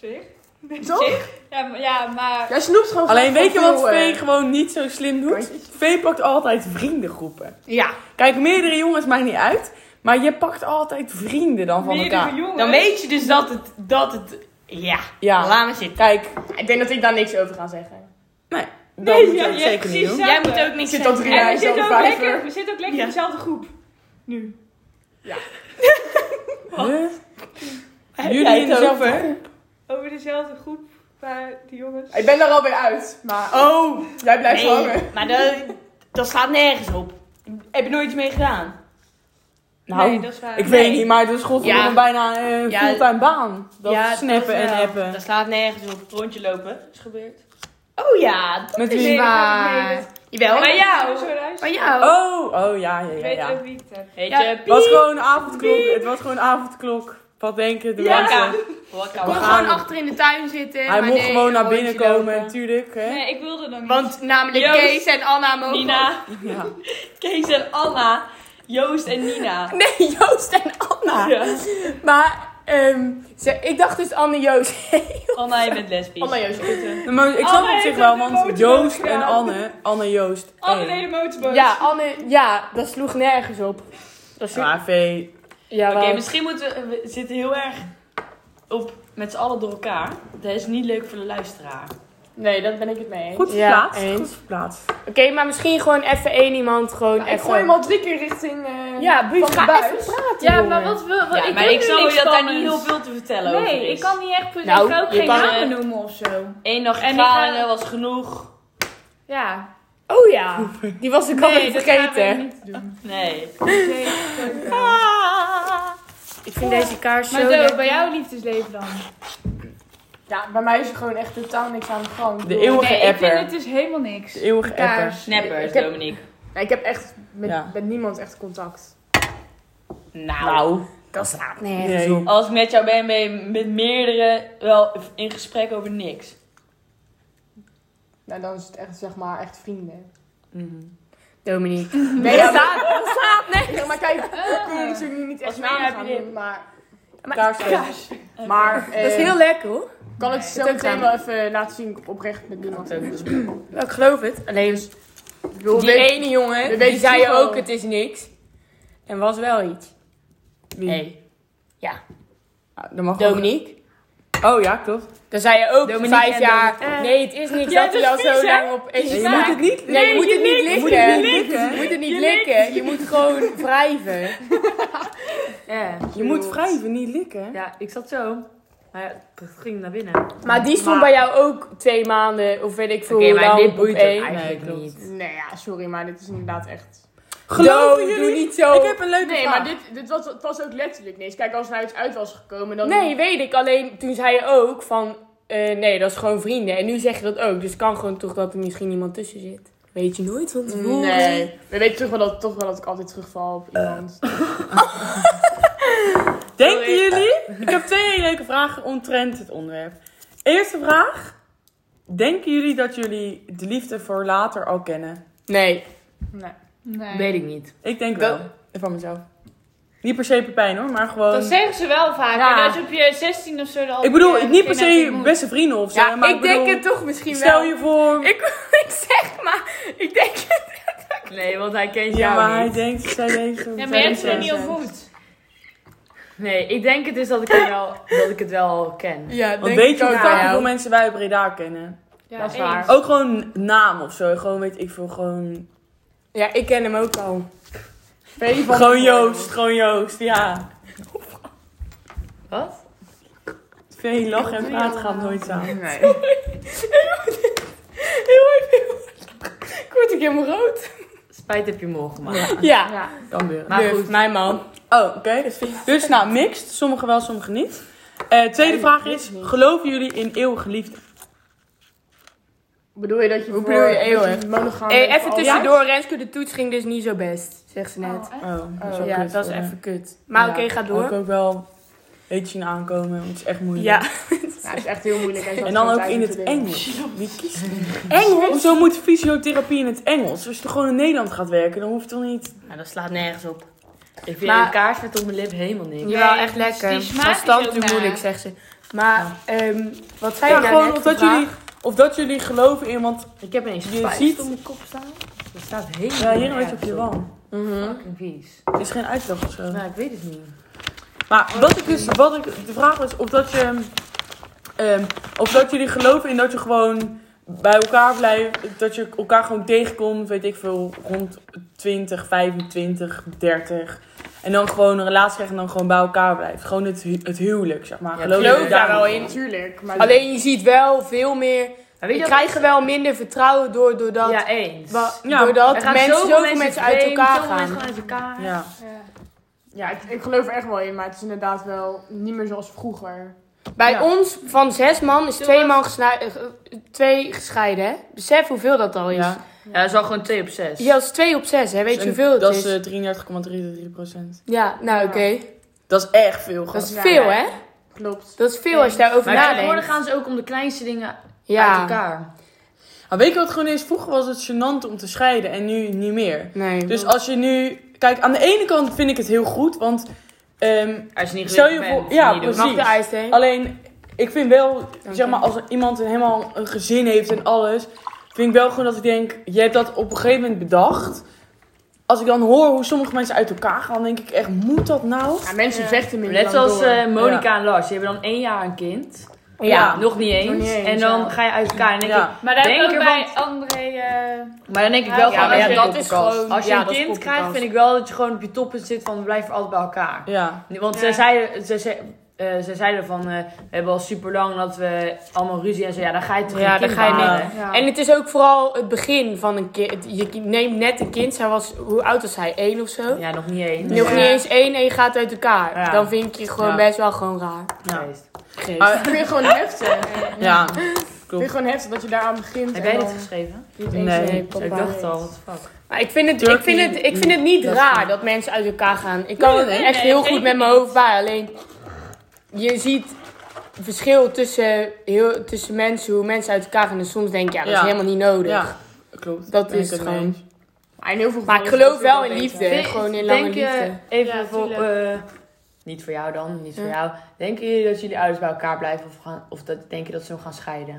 E: Zeg?
C: [LAUGHS]
A: Toch?
E: Ja, maar- ja, maar...
A: Jij snoept gewoon
C: Alleen
A: graag
C: weet je
A: van
C: wat
A: veel, eh,
C: Vee gewoon niet zo slim doet?
A: kantjes.
C: Vee pakt altijd vriendengroepen.
B: Ja,
C: Kijk, meerdere jongens maakt niet uit. Maar je pakt altijd vrienden dan van
E: Meerdere
C: elkaar.
E: jongens.
D: Dan weet je dus dat het, dat het, ja.
C: Ja,
B: laat maar zitten.
C: kijk.
A: Ik denk dat ik daar niks over ga zeggen.
C: Nee, dat
E: Nee,
C: moet je
E: ja,
C: ook
E: ja,
C: zeker niet
E: precies,
C: doen.
E: ja.
B: Jij moet ook niks
A: Zit dat
B: zeggen.
A: drie- Ja,
E: En we
A: hij is
E: zitten
A: al
E: ook
A: een vijver.
E: lekker, we zitten ook lekker
D: Ja.
E: in dezelfde groep. Nu.
C: Huh?
D: Heb jij
C: Jullie in
D: het
C: dezelfde
D: over?
C: groep.
E: Over dezelfde groep waar die jongens...
A: Ik ben daar alweer uit, maar
D: Oh,
A: jij blijft hangen.
D: nee, maar dat, dat slaat nergens op. Heb je nooit iets mee gedaan?
C: Nou,
E: nee, dat is waar.
D: Nee.
C: ik weet niet, maar het is godverdomme
D: Ja.
C: bijna eh, een
D: Ja,
C: fulltime baan. Dat
D: Ja,
C: snappen
D: dat
C: en
D: wel.
C: appen.
D: Dat slaat nergens op. Rondje lopen.
E: is gebeurd.
D: Oh ja, dat
C: Met
D: is...
C: wie?
B: Waar? Jawel.
D: Maar jou.
E: Zo luisteren.
B: Maar jou.
C: Oh, oh ja, ja,
E: Ik
C: ja.
E: weet
C: ja.
E: ook wie ik heb.
D: Weet
E: Ja.
D: je,
C: Het was
D: piep.
C: gewoon avondklok. Het was gewoon avondklok. Wat denken de
E: Ja.
C: mensen?
D: Wakka,
B: Kon
D: wakka.
C: we gaan.
B: gewoon achter in de tuin zitten.
C: Hij
B: maar
C: mocht
B: nee,
C: gewoon naar
B: rondje
C: binnen komen,
B: lopen.
C: natuurlijk. Hè?
E: Nee, ik wilde dan niet.
B: Want namelijk
D: Joost,
B: Kees en Anna mogen...
D: Nina,
C: Ja.
D: Kees en Anna, Joost en Nina.
B: Nee, Joost en Anna.
D: Ja.
B: Maar ehm, ze, ik dacht dus Anne
A: [LAUGHS]
B: Joost.
D: Anna, je bent lesbisch.
A: Allemaal Joost.
C: Maar ik snap
E: Anne
C: het op zich
E: heeft
C: wel,
E: het in
C: want
E: de
C: Joost
E: motorboot
C: en
E: gedaan.
C: Anne, Anne Joost.
E: Alle
C: één.
E: leden motorboot.
B: ja, Anne... Ja, dat sloeg nergens op. Dat sloeg...
C: Maar Vee,
B: Ja,
D: Oké,
B: wel.
D: misschien moeten we, we zitten heel erg op met z'n allen door elkaar. Dat is niet leuk voor de luisteraar.
A: Nee, daar ben ik het mee eens.
C: goed
B: Ja,
C: verplaatst.
B: eens.
C: goed verplaatst.
B: Oké, maar misschien gewoon even één iemand gewoon
A: Nou,
B: even...
A: ik gooi hem al drie keer richting eh
B: Ja, buurt,
A: van de
B: ga
A: buis.
B: even praten,
E: Ja,
B: jongen.
E: maar wat wil... Wat,
D: ja,
E: ik
D: maar
E: wil
D: ik
E: nu
D: snap
E: niks
D: dat daar
E: spannends.
D: niet heel veel te vertellen over is.
E: Nee, ik kan niet echt... precies-
B: Nou,
E: ik kan ook
D: je
E: geen
D: kan,
E: namen
D: eh,
E: noemen of zo.
D: Eén dag
E: En ik
D: gegaan
E: ga-
D: was genoeg.
E: Ja.
B: Oh ja, die was ik al
E: nee, dat gaan we
B: vergeten.
E: niet doen.
D: Nee.
E: Nee, dat kan.
B: Ik vind deze kaars
E: Maar
B: zo
E: zo,
B: lekker.
E: bij jouw liefdesleven dan?
A: Ja, bij mij is er gewoon echt totaal niks aan de gang. Ik
C: De
A: bedoel,
C: eeuwige
E: Nee, ik vind
C: apper.
E: het dus helemaal niks.
C: De eeuwige
E: Kaars.
C: apper.
D: Snappers,
A: Ik heb-
D: Dominique.
A: Nee, ik heb echt met,
C: Ja.
A: met niemand echt contact.
D: Nou.
C: Nou,
B: Dat slaat
C: Nee.
B: nergens op.
D: Als ik met jou ben, ben je met meerdere wel in gesprek over niks.
A: Nou, dan is het echt, zeg maar, echt vrienden.
B: Dominique.
A: Nee, ja, maar,
B: dat slaat nergens
A: ja, maar kijk, ik kom natuurlijk niet echt
D: Als mij
A: namen
D: heb
A: gaan
D: je dit.
A: noemen, maar...
C: kaars.
A: maar
B: Dat is
A: eh,
B: heel lekker hoor.
A: kan ik het zo
B: dat
A: meteen
B: kan.
A: wel even laten zien oprecht met niemand.
B: ik geloof het. Alleen
A: Ik bedoel,
B: die e-
A: weet-
B: ene jongen,
A: we
B: die
A: weten
B: zei
A: toch wel-
B: ook het is niks. En was wel iets.
C: Oh. Wie? Ah, dan mag
B: Dominique.
C: ook- Oh ja, klopt.
B: Dan zei je ook
D: Dominique
B: vijf
D: en
B: jaar,
D: Dominique.
B: nee het is niks,
D: Ja,
B: dat
D: dat
B: hij al
D: is vies, hè?
B: zo lang op is.
C: je moet het niet...
B: Nee, je moet het niet
C: je moet het
B: likken.
C: niet likken.
B: Je moet het niet likken, je moet gewoon wrijven. Ja.
C: Je moet wrijven, niet likken.
D: Ja, ik zat zo. Maar ja, ik ging naar binnen.
B: Maar die stond
A: Maar-
B: bij jou ook twee maanden, of weet ik veel
D: Oké,
B: hoe
D: maar
B: lang,
D: dit
B: op
D: boeit hem
B: één.
D: eigenlijk Nee, klopt.
A: Nee, ja, sorry, maar dit is inderdaad echt... Ah.
C: Geloven
B: Doe,
C: jullie?
B: Doe niet zo.
C: Ik heb een leuke
A: Nee,
C: vraag.
A: maar dit, dit was, het was ook letterlijk niks. Kijk, als er nou iets uit was gekomen, dan...
B: Nee, weet ik. Alleen toen zei je ook van... eh, nee, dat is gewoon vrienden. En nu zeg je dat ook. Dus het kan gewoon toch dat er misschien iemand tussen zit. Weet je nooit van tevoren.
A: Nee. We weten toch wel dat, toch wel dat ik altijd terugval op iemand.
C: Denken jullie? Ik heb twee leuke vragen omtrent het onderwerp. Eerste vraag. Denken jullie dat jullie de liefde voor later al kennen?
B: Nee,
A: Nee.
F: Nee.
B: weet ik niet.
C: Ik denk
B: Dat-
C: wel. Van mezelf. Niet per se Pepijn hoor, maar gewoon...
E: Dat zeggen ze wel vaak.
B: Ja.
E: Dat je op je 16 of zo dan al
C: Ik bedoel,
E: een keer
C: niet per
E: naar iemand
C: se
E: moet.
C: beste vrienden of zo.
B: Ja,
C: maar
B: ik
C: bedoel,
B: denk het toch misschien
C: Stel
B: wel.
C: je voor...
B: Ik, ik zeg maar, ik denk het. Nee, want hij kent
C: ja, maar
B: jou
C: hij
B: niet.
C: denkt... Zij denkt
E: Ja, maar je hebt ze
C: zij-
E: niet ontmoet.
D: Nee, ik denk het dus dat ik het wel, dat ik het wel ken.
B: Ja,
C: Want weet je hoe
B: ook
C: fucking
B: aan jou.
C: veel mensen wij Breda kennen?
E: Ja,
D: dat is
E: eens. Oh,
D: waar.
C: Ook gewoon naam of zo. Gewoon weet ik veel, gewoon...
B: Ja, ik ken hem ook al.
C: Gewoon Joost, gewoon Joost, ja.
D: Wat?
C: Veel lachen en praten gaat nooit samen.
A: Nee.
B: Heel even. Ik word ook helemaal rood.
D: Spijt heb je mogen gemaakt.
B: Ja,
C: Kan weer.
D: Maar
B: durf,
D: goed.
B: mijn man.
C: Dus- Oh, oké. Dus nou, mixed. Sommigen wel, sommigen niet. Eh, tweede vraag is, geloven jullie in eeuwige liefde?
A: Bedoel je dat je Hoe
B: bedoel je eeuwig?
A: monogaam
B: Hey,
A: bent
B: Eh, even
A: voor
B: tussendoor, Renske, de toets ging dus niet zo best, zegt ze net.
F: Oh, echt?
C: Oh, dat is wel
B: ja,
C: kut,
B: dat is
C: hoor.
B: even kut. Maar
C: Ja,
B: oké, ga
C: Had ik
B: door.
C: ook wel iets zien aankomen, want het is echt moeilijk.
B: Ja.
A: altijd? Ja, het is echt heel moeilijk.
C: En dan ook in het Engels. Wie kiest Engels? Hoezo moet fysiotherapie in het Engels? Als je toch gewoon in Nederland gaat werken, dan hoeft het toch niet...
D: Nou, dat slaat nergens op. Ik vind
B: Maar-
D: een kaars met op mijn lip helemaal niks.
B: Jawel,
E: Nee,
B: echt lekker.
E: die smaak
B: Van
E: is
B: stand
E: ook
B: toe
E: naar.
B: moeilijk, zegt ze. Maar, ehm, wat zei
C: Ja,
B: je nou
C: gewoon
B: net
C: of dat,
B: gevraagd?
C: jullie, of dat jullie geloven in, want
D: Ik heb ineens
C: Je
D: spijt
C: ziet-
D: op mijn kop staan. Dat staat helemaal
C: ja, hier een beetje op
D: nergens
C: je wang.
B: Mhm.
D: Fucking vies.
C: Er is geen uitleg of zo.
D: Nou, ik weet het niet.
C: Maar wat ik dus, wat ik, de vraag was of dat je, ehm, of dat jullie geloven in dat je gewoon bij elkaar blijft, dat je elkaar gewoon tegenkomt, weet ik veel, rond 20, 25, 30. En dan gewoon een relatie krijgt en dan gewoon bij elkaar blijft. Gewoon het, hu- het huwelijk, zeg maar.
D: Ja,
C: Geloof
B: geloof
C: je
B: daar
A: Ja,
C: daarin?
A: wel in. Natuurlijk. Maar
B: Alleen je ziet wel veel meer.
D: Maar
B: We
D: weet je
B: krijgen wel minder vertrouwen door, doordat,
D: wat? Ja, eens.
B: wa-
C: Ja.
B: doordat
D: Er gaan
B: mensen zoveel mensen, uit
D: vreemd,
B: elkaar
D: zoveel
B: gaan.
D: mensen uit elkaar.
C: Ja.
A: Ja, ik, ik geloof er echt wel in, maar het is inderdaad wel niet meer zoals vroeger.
B: Bij
C: Ja.
B: ons van zes man is
E: Doe
B: twee
E: wat.
B: man gesnui- eh, eh, twee gescheiden. Hè? Besef hoeveel dat al is.
C: Ja.
B: Ja,
D: Ja, dat is al gewoon 2 op 6.
B: dat is twee op zes. Hè? Weet je
C: En
B: hoeveel het
C: Dat
B: is?
C: is eh, 33,33 procent.
B: Ja, nou oké.
C: Dat is echt veel,
B: Dat is
A: Ja.
B: veel, hè?
A: Klopt.
B: Dat is veel als je daarover
D: Maar tegenwoordig
B: nadenkt.
D: gaan ze ook om de kleinste dingen uit
B: Ja.
D: elkaar.
C: Maar weet je wat het gewoon is? Vroeger was het gênant om te scheiden en nu niet meer.
B: Nee.
C: Dus als je nu... Kijk, aan de ene kant vind ik het heel goed, want... ehm,
D: Als je niet
C: Stel je
D: gelukkig bent,
C: voor-
D: moet je
C: ja,
D: niet doen.
C: precies.
B: Mag de ijsteen?
C: alleen, ik vind wel... Zeg maar, als er iemand een- helemaal een gezin heeft en alles... Vind ik wel gewoon dat ik denk... Je hebt dat op een gegeven moment bedacht. Als ik dan hoor hoe sommige mensen uit elkaar gaan... denk ik echt, moet dat nou?
A: Ja, mensen vechten minder
D: Net
A: lang
D: zoals
A: door.
D: eh Monica en Lars, die hebben dan één jaar een kind.
C: Ja.
D: Nog niet eens.
A: Nog niet eens,
D: en dan
A: ja.
D: ga je uit elkaar. En denk
C: Ja.
E: Maar daar heb ik
D: Denk
E: ook
D: er
E: bij André... eh,
D: ik, maar dan denk ik wel
E: Ja,
D: van,
E: maar
D: ja,
E: ja,
D: dat
B: dat is
D: poppenkast.
B: gewoon-
D: Als je
B: ja,
D: een
B: dat is
D: kind
B: poppenkast.
D: krijgt, vind ik wel dat je gewoon op je toppen zit van we blijven altijd bij elkaar.
C: Ja.
D: Want zij, zeiden, zij, ze- eh, zij zeiden van, eh, we hebben al super lang dat we allemaal ruzie en zo. Ja, dan ga je toch
B: Ja,
D: een
B: dan
D: kind
B: ga je
D: baren.
C: niet.
A: Ja.
B: En het is ook vooral het begin van een kind. Je ki- neemt net een kind. Zij was, hoe oud was hij? Eén of zo?
D: Ja, nog niet eens.
B: Nog niet eens één en je gaat uit elkaar.
D: Ja.
B: Dan vind ik je gewoon
C: Ja.
B: best wel gewoon raar.
D: Ja.
B: Geest.
A: Dat vind je
B: [LAUGHS]
A: gewoon heftig. Dat
C: Ja.
A: vind je gewoon heftig dat je daaraan begint.
D: Heb
A: en
D: jij
A: dan
D: dit geschreven?
A: niet eens
C: Nee.
A: weet
B: papa.
D: ik dacht het al, what the fuck.
B: Maar ik vind, het,
C: Turkey-
B: ik, vind het, ik vind het niet
C: Dat is
B: raar
C: gewoon-
B: dat mensen uit elkaar gaan. Ik kan
C: Nee,
B: het
C: nee,
B: echt
E: nee,
B: heel
E: zeker
B: goed met mijn hoofd bij. Alleen, je ziet verschil tussen, heel, tussen mensen, hoe mensen uit elkaar gaan. En soms denk je, ja, dat
C: Ja.
B: is helemaal niet nodig.
C: Ja. Klopt.
B: Dat
C: Ben ik
B: is
C: het
B: gewoon-
C: mee eens.
A: Maar in heel veel
B: Maar ik
A: gevallen
B: geloof
A: is het
B: wel in
A: beter.
B: liefde.
D: Denk-
B: gewoon in lange
D: denk je-
B: liefde.
D: Even
E: Ja,
D: voor... eh, niet voor jou dan, niet voor
B: Ja.
D: jou. Denken jullie dat jullie ouders bij elkaar blijven of, gaan, of dat, denk je dat ze nog gaan scheiden?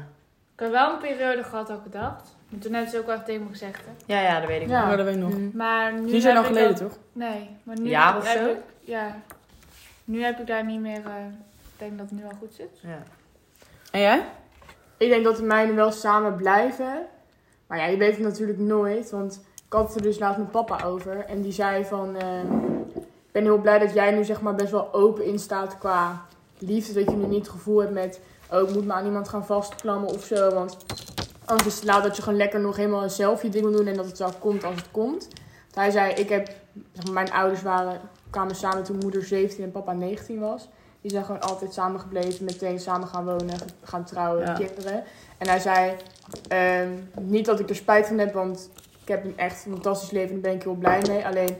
E: Ik heb wel een periode gehad dat ik het dacht. Maar Toen hebben ze ook wel echt tegen me gezegd. Hè.
D: Ja, ja, dat weet ik
C: Ja,
A: Ja.
C: dat weet ik nog.
E: Maar nu
C: Die zijn
E: heb
C: al
E: ik
C: geleden,
E: dat-
C: toch?
E: Nee, maar nu
D: Jaar of
E: heb
D: zo?
E: Ik, ja. Nu heb ik daar niet meer... eh, ik denk dat het nu al goed zit.
D: wel. Ja.
C: En jij?
A: Ik denk dat de mijnen wel samen blijven. Maar ja, je weet het natuurlijk nooit. Want ik had het er dus laatst met papa over. En die zei van... ehm, ik ben heel blij dat jij nu zeg maar best wel open in staat qua liefde. Dat je nu niet het gevoel hebt met... Oh, ik moet me aan iemand gaan vastklammen of zo. Want anders is het laat dat je gewoon lekker nog helemaal zelf je ding wil doen. En dat het wel komt als het komt. Hij zei, ik heb, zeg maar, mijn ouders waren, kwamen samen toen moeder 17 en papa 19 was. Die zijn gewoon altijd samen gebleven, meteen samen gaan wonen, gaan trouwen,
C: Ja.
A: kinderen. En hij zei, ehm, niet dat ik er spijt van heb, want ik heb een echt fantastisch leven en daar ben ik heel blij mee. Alleen,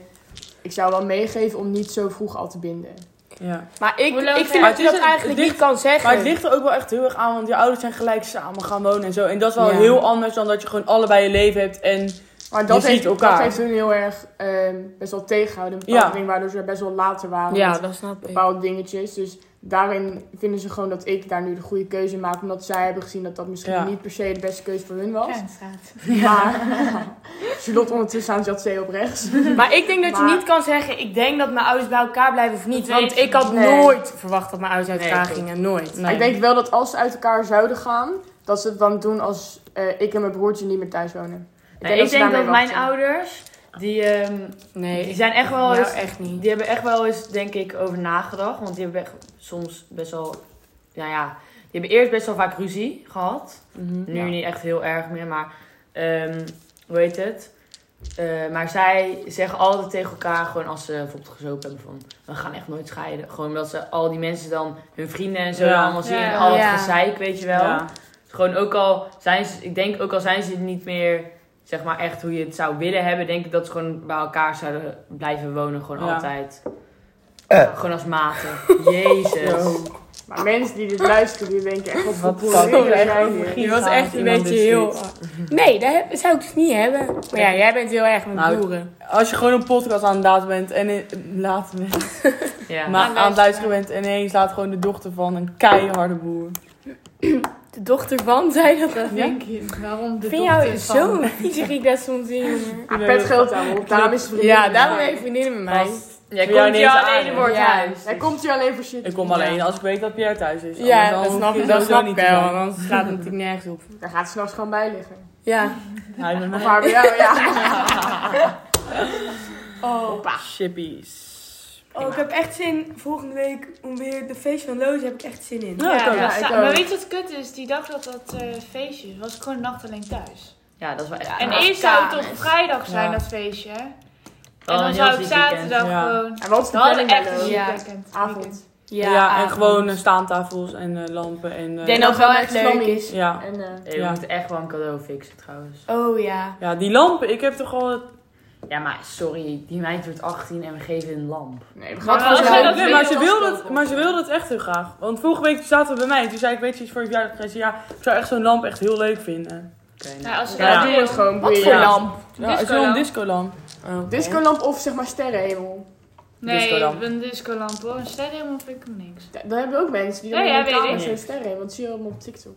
A: ik zou wel meegeven om niet zo vroeg al te binden.
C: Ja.
B: Maar ik,
E: Hoe lang
B: ik
E: zijn-
B: vind
C: Maar
B: dat
C: het
B: je
C: is
B: dat
C: een-
B: eigenlijk
C: het
B: niet kan zeggen.
C: Maar het ligt er ook wel echt heel erg aan, want je ouders zijn gelijk samen gaan wonen en zo. En dat is wel
B: Ja.
C: heel anders dan dat je gewoon allebei je leven hebt en...
A: Maar dat,
C: Je
A: heeft,
C: ziet elkaar.
A: dat heeft hun heel erg ehm, best wel tegengehouden. Een
C: Ja.
A: bepaalde ding waardoor ze best wel later waren.
B: Ja,
A: met
B: dat snap ik.
A: bepaalde dingetjes. Dus daarin vinden ze gewoon dat ik daar nu de goede keuze in maak. Omdat zij hebben gezien dat dat misschien
C: Ja.
A: niet per se de beste keuze voor hun was.
E: Kernstraat.
A: Maar [LAUGHS] Charlotte ondertussen aan het C op rechts.
B: Maar ik denk dat je
A: Maar-
B: niet kan zeggen, ik denk dat mijn ouders bij elkaar blijven of niet.
G: weet
B: Want
G: je
B: ik had
A: niet. Nee.
B: nooit verwacht dat mijn ouders uit elkaar
D: Nee, klopt.
B: gingen. Nooit.
C: Nee.
A: Ik denk wel dat als ze uit elkaar zouden gaan, dat ze het dan doen als eh, ik en mijn broertje niet meer thuis wonen. Ik
D: Nee, ik
A: ze
D: denk dat
A: daarmee
D: mijn
A: wachten.
D: ouders, die, ehm,
B: Nee,
D: die zijn echt wel
B: nou,
D: eens,
B: echt niet.
D: die hebben echt wel eens, denk ik, over nagedacht. Want die hebben echt soms best wel, nou ja, die hebben eerst best wel vaak ruzie gehad. Nu niet echt heel erg meer, maar ehm, hoe heet het? Eh, maar zij zeggen altijd tegen elkaar, gewoon als ze bijvoorbeeld gezopen hebben van, we gaan echt nooit scheiden. Gewoon omdat ze al die mensen dan, hun vrienden en zo
C: Ja.
D: allemaal zien,
E: Ja.
D: en al het
B: Ja.
D: gezeik, weet je wel.
C: Ja.
D: Gewoon ook al zijn ze, ik denk ook al zijn ze niet meer, zeg maar echt hoe je het zou willen hebben, denk ik dat ze gewoon bij elkaar zouden blijven wonen, gewoon
C: Ja.
D: altijd. Gewoon als maten. [LAUGHS] Jezus.
A: Maar mensen die dit luisteren, die denken echt wat voor
C: Wat
A: boeren
C: fuck.
A: zijn Ah,
C: Echt
A: dit?
C: Je was echt een beetje heel...
B: Nee, dat heb- zou ik dus niet hebben. Maar ja, jij bent heel erg met
C: Nou,
B: boeren.
C: Als je gewoon een podcast aan het laten bent en... in- Laten bent.
D: Ja.
C: Maar aan het luisteren bent en ineens laat gewoon de dochter van een keiharde boer.
B: De dochter van [LAUGHS] zei dat.
E: Dat denk ik. Waarom de
B: Ik vind jou zo [LAUGHS] zeg ik dat soms in, jongen.
A: Ah, pet geldt daarop, daarom is het vriendin.
B: Ja, daarom heeft vriendinnen met mij.
C: Als-
D: Jij
C: Voor jou
D: komt
C: niet
D: hier
C: eens aan,
D: alleen
C: hè?
D: wordt
B: Ja.
D: huis.
A: Hij komt hier alleen voor shit.
C: Ik kom alleen als ik weet dat Pierre thuis is.
B: Ja,
C: Anders
B: dat
C: dan
B: snap
C: hoef
B: ik,
C: dat
B: dat snap
C: niet
B: ik
C: te
B: wel.
C: doen.
B: want Anders slaat het natuurlijk nergens op.
A: Daar gaat s'nachts gewoon bij liggen.
B: Ja.
C: Hij met
A: Of
C: mij.
A: haar bij jou,
E: [LAUGHS]
A: ja.
C: Chippies.
B: Oh, ik heb echt zin volgende week om weer de feest van Loos. Heb ik echt zin in.
C: Ja, ik Nou, ook.
A: Ja, ik ook.
E: maar weet je wat kut is? Die dag dat dat eh, feestje was, was ik gewoon een nacht alleen thuis.
D: Ja, dat is wel echt.
E: En
D: raar.
E: eerst zou het toch vrijdag zijn,
C: Ja.
E: dat feestje. hè?
D: Dan
E: En
D: een
E: dan
D: Oh, heel
E: zou ik
D: ziek weekend.
E: zaterdag
C: Ja.
E: gewoon...
A: En wat is de
E: We hadden
A: planning
E: echt
A: bij
E: een
A: Loos?
E: ziek
A: Ja.
E: weekend.
A: Avond.
C: Ja, en gewoon eh, staandtafels en eh, lampen en... eh,
B: Ik denk dat het wel echt
A: Met
B: leuk
A: vlammen.
B: is.
C: Ja.
A: En eh,
D: Hey, we
C: Ja.
D: moeten echt wel een cadeau fixen trouwens.
B: Oh ja.
C: ja, die lampen. Ik heb toch al...
D: Ja, maar sorry, die meid wordt 18 en we geven een lamp.
A: nee, we gaan
E: Maar als
A: het
E: we
A: gewoon
E: dat
A: doen.
C: Nee, maar, ze
E: wil je
C: wil
E: dat
C: dat, maar ze wil dat echt heel graag. Want vorige week zaten we bij mij. Toen zei ik, weet je iets voor je verjaardag? Toen zei ze, ja, ik zou echt zo'n lamp echt heel leuk vinden.
D: Oké. nou.
E: Nou, als we
C: Ja.
E: dat
A: Ja, doe het
E: doen...
A: gewoon. boeien.
B: Voor
A: Ja.
B: lamp.
C: Ja,
E: Discolamp.
C: zo'n discolamp.
A: Discolamp of zeg maar sterrenhemel.
E: Nee,
C: Discolamp.
E: een discolamp hoor. Een sterrenhemel vind ik hem niks.
A: Da- Dan hebben we ook mensen die
E: Ja,
A: dan
E: ja,
A: in de
E: weet
A: kamer
E: ik.
A: zo'n sterrenhemel. Dat zie je allemaal op TikTok.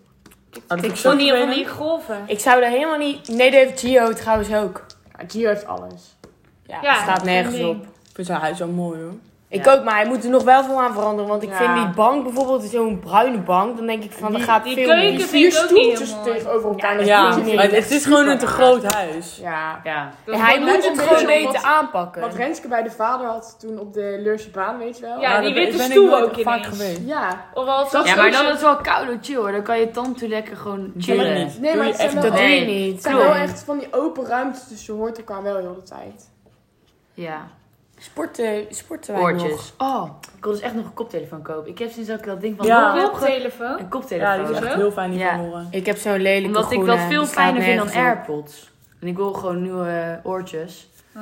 C: ik
E: Van die, van die golven.
B: Ik zou daar helemaal niet... Nee, dat heeft Gio trouwens ook.
A: Ja, Gio heeft alles.
B: Ja,
E: Ja,
B: dat staat
E: dat
B: nergens
E: ding.
B: op.
C: Ik vind zijn huis wel mooi hoor.
B: Ik
D: Ja.
B: ook, maar hij moet er nog wel veel aan veranderen. Want ik
A: Ja.
B: vind die bank bijvoorbeeld, zo'n bruine bank, dan denk ik van, dat
A: Die-
B: gaat
E: die
B: veel
E: keuken-
B: meer.
E: Ik
A: Die
E: vind
A: vier
E: het ook niet
A: stoeltjes
E: heel mooi.
A: tegenover elkaar. dat
C: Ja,
A: doet hij
C: maar
A: niet.
C: het is gewoon een te groot huis.
A: Ja.
D: Ja.
E: Dat
B: Hij
E: gewoon
B: moet
A: een
B: het
A: beetje
B: gewoon
A: wat-
B: weten aanpakken.
A: Wat Renske bij de vader had toen op de Leurse baan, weet je wel?
E: Ja,
C: Maar
E: die
C: daar
E: witte
C: ben ik
E: stoel
C: nooit
E: ook
C: vaak
E: ineens.
C: geweest.
A: Ja.
E: Of als
A: Dat
D: ja,
A: is
D: maar
A: ook
D: dan
A: zo-
D: is het wel koud en chill hoor. Dan kan je tante lekker gewoon
C: Doe
D: chillen.
C: ik niet.
A: Nee,
C: Doe
A: maar
C: je
A: het zijn
C: echt
A: wel
C: dat
B: dat doe je
D: Nee.
A: Het
B: niet.
A: zijn wel echt van die open ruimtes, dus je hoort elkaar wel heel de tijd.
D: Ja.
B: Sporten, sporten wij nog.
D: Oortjes. Oh, ik wil dus echt nog een koptelefoon kopen. Ik heb sinds dat ik dat ding van
C: Ja.
D: Nokia heb ge-
E: telefoon.
D: Een
C: Ja, die
D: koptelefoon.
C: is echt
E: Zo?
C: heel fijn die
D: Ja.
C: van horen.
B: Ik heb zo'n lelijke
D: Omdat ik
B: groene,
D: dat veel
B: die slaat
D: fijner vind dan
B: nergens op.
D: AirPods. En ik wil gewoon nieuwe eh, oortjes.
E: Ah.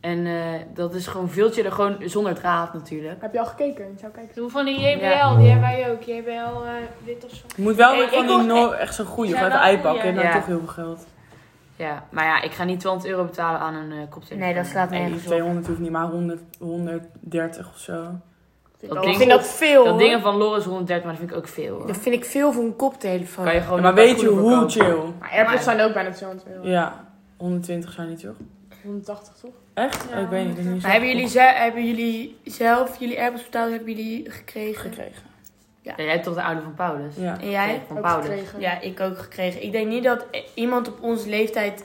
D: En eh, dat is gewoon veel chiller, gewoon zonder draad natuurlijk.
A: Heb je al gekeken? Ik zou kijken.
E: Doe van die JBL,
D: Ja.
E: die hebben wij ook. JBL eh, wit of zo.
C: Je moet wel
B: Ik-
C: weer van
B: ik
C: die
B: wil-
C: no echt zo'n goede.
E: Ja,
C: Of even
E: dat-
C: uitpakken.
E: ja.
C: En dan
D: Ja.
C: toch heel veel geld.
D: Ja, maar ja, ik ga niet 20 euro betalen aan een eh, koptelefoon.
B: Nee, dat slaat
C: Nee,
B: nergens op.
C: 200 hoeft niet, maar 100, 130 of zo.
A: Vind
D: Dat
A: ik
B: Ik
A: wel-
D: ding-
B: vind dat veel,
D: Dat
B: hoor.
D: dingen van Loris 130, maar dat vind ik ook veel hoor.
B: Dat vind ik veel voor een koptelefoon.
D: Kan je gewoon
C: maar
D: een paar
C: weet je
D: schoenen
C: hoe
D: voor kopen.
C: chill?
A: Maar Ah, AirPods zijn ook bijna 200 euro.
C: Ja, 120 zijn niet toch?
A: 180 toch?
C: Echt?
E: Ja,
C: ik weet niet. Ik ben niet zo
B: Maar hebben jullie, ze- hebben jullie zelf jullie AirPods betaald? Hebben jullie
C: goed
B: gekregen?
C: gekregen?
D: Ja, jij hebt toch de oude van Paulus?
C: Ja.
B: En jij?
D: Van
A: Ook
D: Paulus.
A: gekregen.
B: Ja, ik ook gekregen. Ik denk niet dat eh, iemand op onze leeftijd...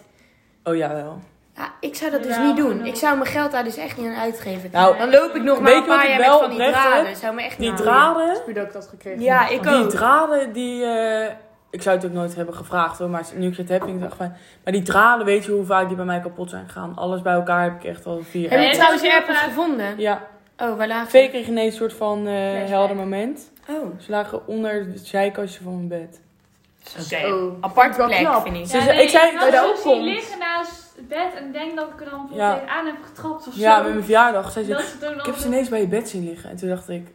C: Oh ja, wel.
B: Ja, ik zou dat dus
E: Ja,
B: niet doen.
E: genoeg.
B: Ik nog. zou mijn geld daar dus echt niet aan uitgeven.
C: Nou,
B: dan loop ik nog
C: weet
B: maar een
C: je wat
B: paar
C: ik
B: jaar met
C: wel
B: van die
C: oprecht
B: draden.
C: heb?
B: Zou me echt
C: Die
B: niet
C: draden,
A: Heb je ook dat
B: aan-
A: gekregen?
B: Ja, ik
C: die
B: ook.
C: draden die, eh, Ik zou het ook nooit hebben gevraagd hoor, maar nu ik het heb, denk ik echt van... Maar die dralen, weet je hoe vaak die bij mij kapot zijn gegaan? Alles bij elkaar heb ik echt al vier.
B: Heb
C: jaar.
B: je trouwens je appels gevonden?
C: Ja,
B: Oh, waar lagen
C: twee keer ineens een soort van eh, helder moment.
B: Oh.
C: Ze lagen onder het zijkastje van mijn bed.
A: Oh.
B: Apart
A: Wel
B: plek,
A: knap.
B: vind ik.
C: Ze zei- ik zei
E: ik
C: dat
E: had
C: er ook
E: zo
C: komt.
E: zien dus liggen naast het bed en denk dat ik er dan
C: Ja.
E: ja. aan heb getrapt of zo.
C: Ja, met mijn verjaardag. Zij zei,
E: Dat ze toen
C: ik heb ze
E: allemaal-
C: ineens bij je bed zien liggen. En toen dacht ik,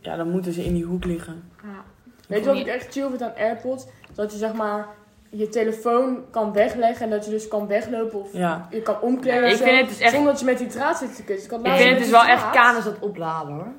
C: ja, dan moeten ze in die hoek liggen.
A: Weet je wat ik echt chill vind aan AirPods? Dat je zeg maar je telefoon kan wegleggen en dat je dus kan weglopen of
C: Ja.
A: je kan omkleden.
H: Ik
A: en zo,
H: vind het dus echt-
A: Zonder dat je met die draad zit te kussen. Ik, had
H: Ik
A: laatst
H: vind het
A: met
H: dus
A: die
H: wel echt
A: draad-
H: kanus dat opladen hoor.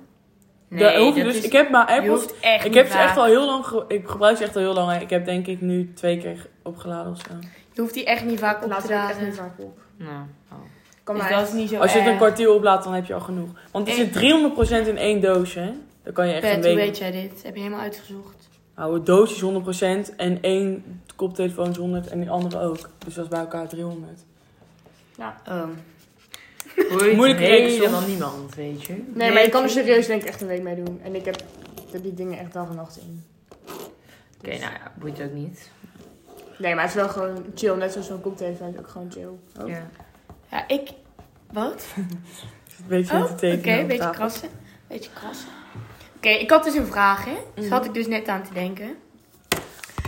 C: Daar hoef je
H: dat
C: dus,
H: is-
C: Ik heb mijn
H: je
C: AirPods
H: hoeft echt
C: Ik
H: niet
C: heb ze
H: waar.
C: echt al heel lang, ge- ik gebruik ze echt al heel lang. Ik heb denk ik nu twee keer opgeladen of zo.
B: Je hoeft die echt niet vaak op te
A: Laat ik echt niet
B: dragen.
A: vaak op.
H: Nou, oh.
A: Kan
B: Dus
A: maar
B: dat
A: echt-
B: is niet zo
C: Als je het een
B: erg.
C: kwartier oplaadt, dan heb je al genoeg. Want het zit 300% in één doosje. hè. Dan kan je echt een
B: Pet, hoe weet
C: week...
B: jij dit? Heb je helemaal uitgezocht.
C: Nou, het doosje is 100% en één koptelefoon is 100 en die andere ook. Dus dat is bij elkaar 300.
D: [LAUGHS]
B: Oh.
C: Ehm. Moeilijke reeks,
H: dan niemand, weet je.
A: Nee, maar je kan er serieus denk ik echt een week mee doen. En ik heb ik heb die dingen echt dag en nacht in.
C: dus-
H: Oké, nou ja, boeit ook niet.
A: Nee, maar het is wel gewoon chill. Net zoals zo'n koptelefoon is ook gewoon chill.
C: Oh.
H: Ja.
B: Ja, ik... Wat?
C: Een beetje
B: Oh,
C: in te
B: oké,
C: tekenen op
B: beetje
C: tafel.
B: krassen. Beetje krassen. Oké, ik had dus een vraag, hè? Dus had ik dus net aan te denken.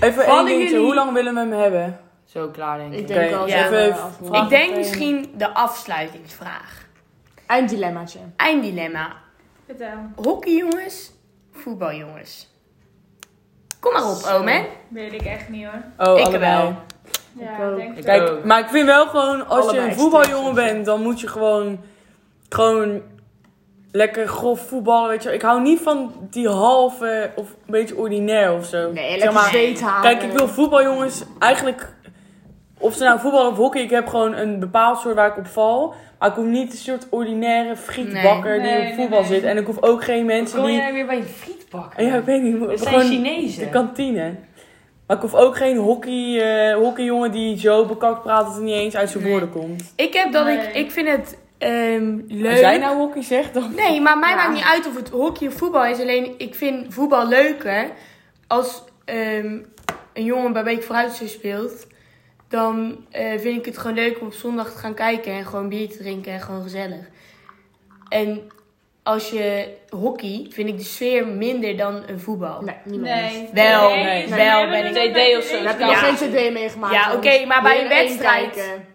C: Even één
B: Vallen
C: dingetje,
B: jullie-
C: hoe lang willen we hem hebben?
H: Zo klaar, denk ik.
A: Ik
C: Oké, dus
A: denk wel
B: ja,
A: dat we
C: even
A: afronden.
C: vragen.
B: ik denk
C: meteen.
B: misschien de afsluitingsvraag.
A: Einddilemmaatje.
B: Einddilemma.
E: Vertel,
B: Hockeyjongens, voetbaljongens. Kom maar op, oom, hè?
E: weet ik echt niet hoor.
C: Oh,
B: Ik
C: allebei.
B: wel.
A: Ik
E: Ja,
A: ook.
E: denk ik.
C: Kijk,
H: ook.
C: maar ik vind wel gewoon, als je
A: Allebei
C: een voetbaljongen
A: extreem.
C: bent, dan moet je gewoon, gewoon lekker grof voetballen, weet je wel. Ik hou niet van die halve, of een beetje ordinair of zo.
A: Nee,
C: Zeg
A: lekker
C: maar,
A: zweet halen.
C: Kijk, ik wil voetbaljongens eigenlijk, of ze nou voetbal of hockey, ik heb gewoon een bepaald soort waar ik op val. Maar ik hoef niet een soort ordinaire frietbakker
E: Nee. Nee,
C: die
E: nee,
C: op voetbal
E: nee.
C: zit. En ik hoef ook geen mensen
H: Kom
C: die...
H: jij weer bij je frietbakker?
C: Ja, ik weet niet.
H: Het zijn
C: gewoon de
H: Chinezen.
C: kantine. Maar ik hoef ook geen hockey, eh hockeyjongen die zo bekakt praat dat hij niet eens uit zijn
B: Nee.
C: woorden komt.
B: Ik heb dat
E: Nee.
B: ik... Ik vind het ehm, leuk.
C: Als jij nou hockey zegt, dan...
B: Nee, maar mij maakt niet uit of het hockey of voetbal is. Alleen ik vind voetbal leuker. Als ehm, een jongen bij Beek vooruit zo speelt, dan eh, vind ik het gewoon leuk om op zondag te gaan kijken en gewoon bier te drinken en gewoon gezellig. En als je hockey, vind ik de sfeer minder dan een voetbal.
A: Nee, niet meer. eens.
E: Nee.
B: Wel,
E: Nee,
C: nee,
E: ze
B: wel
E: hebben
B: ben
E: er
B: ik-
E: nog
D: 2D of zo.
E: bij
A: Daar heb je
E: de-
A: nog
B: Ja.
A: geen cd meegemaakt.
B: Ja, oké, maar bij een
A: Heren één
B: wedstrijd.
A: kijken.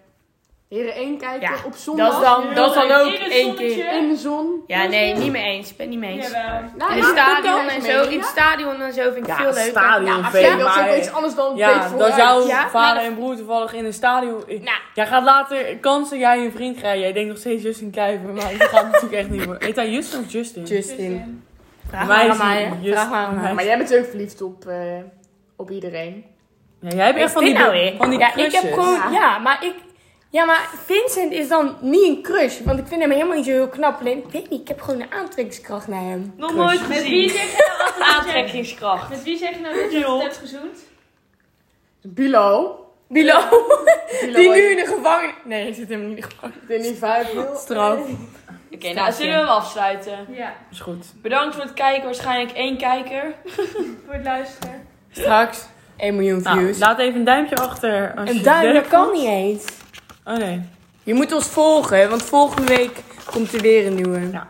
A: Heren 1 kijken
B: Ja,
A: op zondag.
B: Dat is dan, dat is dan ook
E: In het
B: één
E: zonnetje.
B: keer.
A: In de zon.
B: Ja, nee, niet mee eens. Ik ben niet mee eens.
E: Jawel.
A: Nou,
B: In het
A: ja,
B: stadion
A: dat
B: en
A: kan
B: zo.
A: ik
B: In
A: mee.
B: het stadion en zo vind ik veel leuker.
C: stadion
A: Ja,
C: veel,
A: dat is ook iets
C: maar...
A: anders dan
C: Ja,
A: weet
C: dan zou
B: Ja, maar
C: vader
B: dat-
C: en broer toevallig in een stadion...
B: Nou.
C: Jij gaat later kansen jij en je vriend krijgen. Jij denkt nog steeds Justin Kluiver, maar dat gaat [LAUGHS] natuurlijk echt niet worden. Heet hij Justin of Justin?
B: Justin. Vraag
C: Mij
B: maar aan
C: is
B: mij.
C: het
B: hè.
C: just-
B: Vraag maar aan mij.
A: Maar jij bent ook verliefd op, eh, op iedereen.
C: Ja, jij hebt echt van die, van die
B: nou ja, ik heb
C: crushes.
B: gewoon, ja. maar ik... Ja, maar Vincent is dan niet een crush. Want ik vind hem helemaal niet zo heel knap. Alleen, ik weet niet, ik heb gewoon een aantrekkingskracht naar hem.
D: Nog nooit
E: Met
D: gezien.
E: wie zeg je nou
D: [LAUGHS]
E: altijd dat je-
D: Aantrekkingskracht.
E: Met wie zeg je nou dat je het hebt gezoend?
A: Bilo.
B: Bilo, [LAUGHS]
A: Bilo
B: die nu in de gevangenis... Nee, ik zit helemaal niet in de gevangenis.
A: Danny
B: [LAUGHS]
A: Vijfwiel.
C: Straf.
D: Oké, nou zullen we hem afsluiten.
E: Ja,
C: Is goed.
D: Bedankt voor het kijken, waarschijnlijk één kijker.
E: voor het luisteren.
B: Straks 1 miljoen
C: Nou,
B: views.
C: laat even een duimpje achter. Als je
B: een
C: het
B: duim,
C: leuk
B: dat kan
C: vond.
B: niet eens.
C: Oh nee.
B: Je moet ons volgen, want volgende week komt er weer een nieuwe.
C: Ja.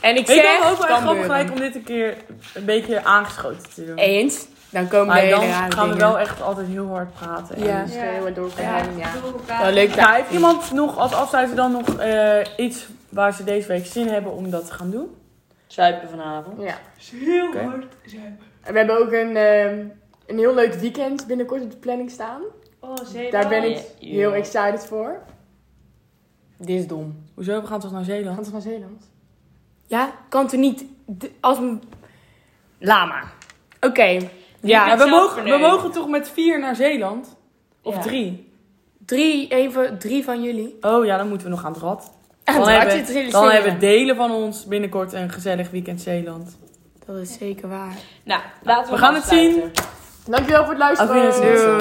B: En ik
C: Ik
B: zeg...
C: ben ook wel echt
B: Cambuur.
C: grappig gelijk om dit een keer een beetje aangeschoten te doen.
B: Eens, dan komen
C: maar
B: we
C: dan gaan we wel echt altijd heel hard praten. en-
B: Ja.
A: Schreeuwen door
E: Ja,
A: elkaar. Ja.
E: door elkaar.
B: Wel leuk.
C: Nou, heeft iemand nog als afsluiter dan nog eh, iets waar ze deze week zin hebben om dat te gaan doen?
H: Zuipen vanavond.
A: ja.
E: Heel
C: Oké.
E: hard zuipen.
A: En we hebben ook een, ehm, een heel leuk weekend binnenkort op de planning staan.
E: Oh, zeker.
A: Daar ben ik
H: Ja.
A: heel excited voor.
B: Dit is dom.
C: Hoezo? We gaan toch naar Zeeland?
A: Hans van Zeeland.
B: Ja, kan toch niet de- als een lama. Oké. Ja,
D: bent
C: we,
D: zelf
C: mogen, we
D: verneukt.
C: mogen toch met vier naar Zeeland? Of
D: Ja.
C: drie?
B: drie, een van, drie van jullie.
C: Oh ja, dan moeten we nog aan het rad.
B: En
C: Dan,
B: dan had je het
C: hebben, dan
B: realiseren.
C: hebben delen van ons binnenkort een gezellig weekend Zeeland.
B: Dat is zeker waar.
D: Nou, laten we
C: We gaan het zien.
D: afsluiten.
A: Dankjewel voor het
C: Auf
A: luisteren.
C: Wiedersehen.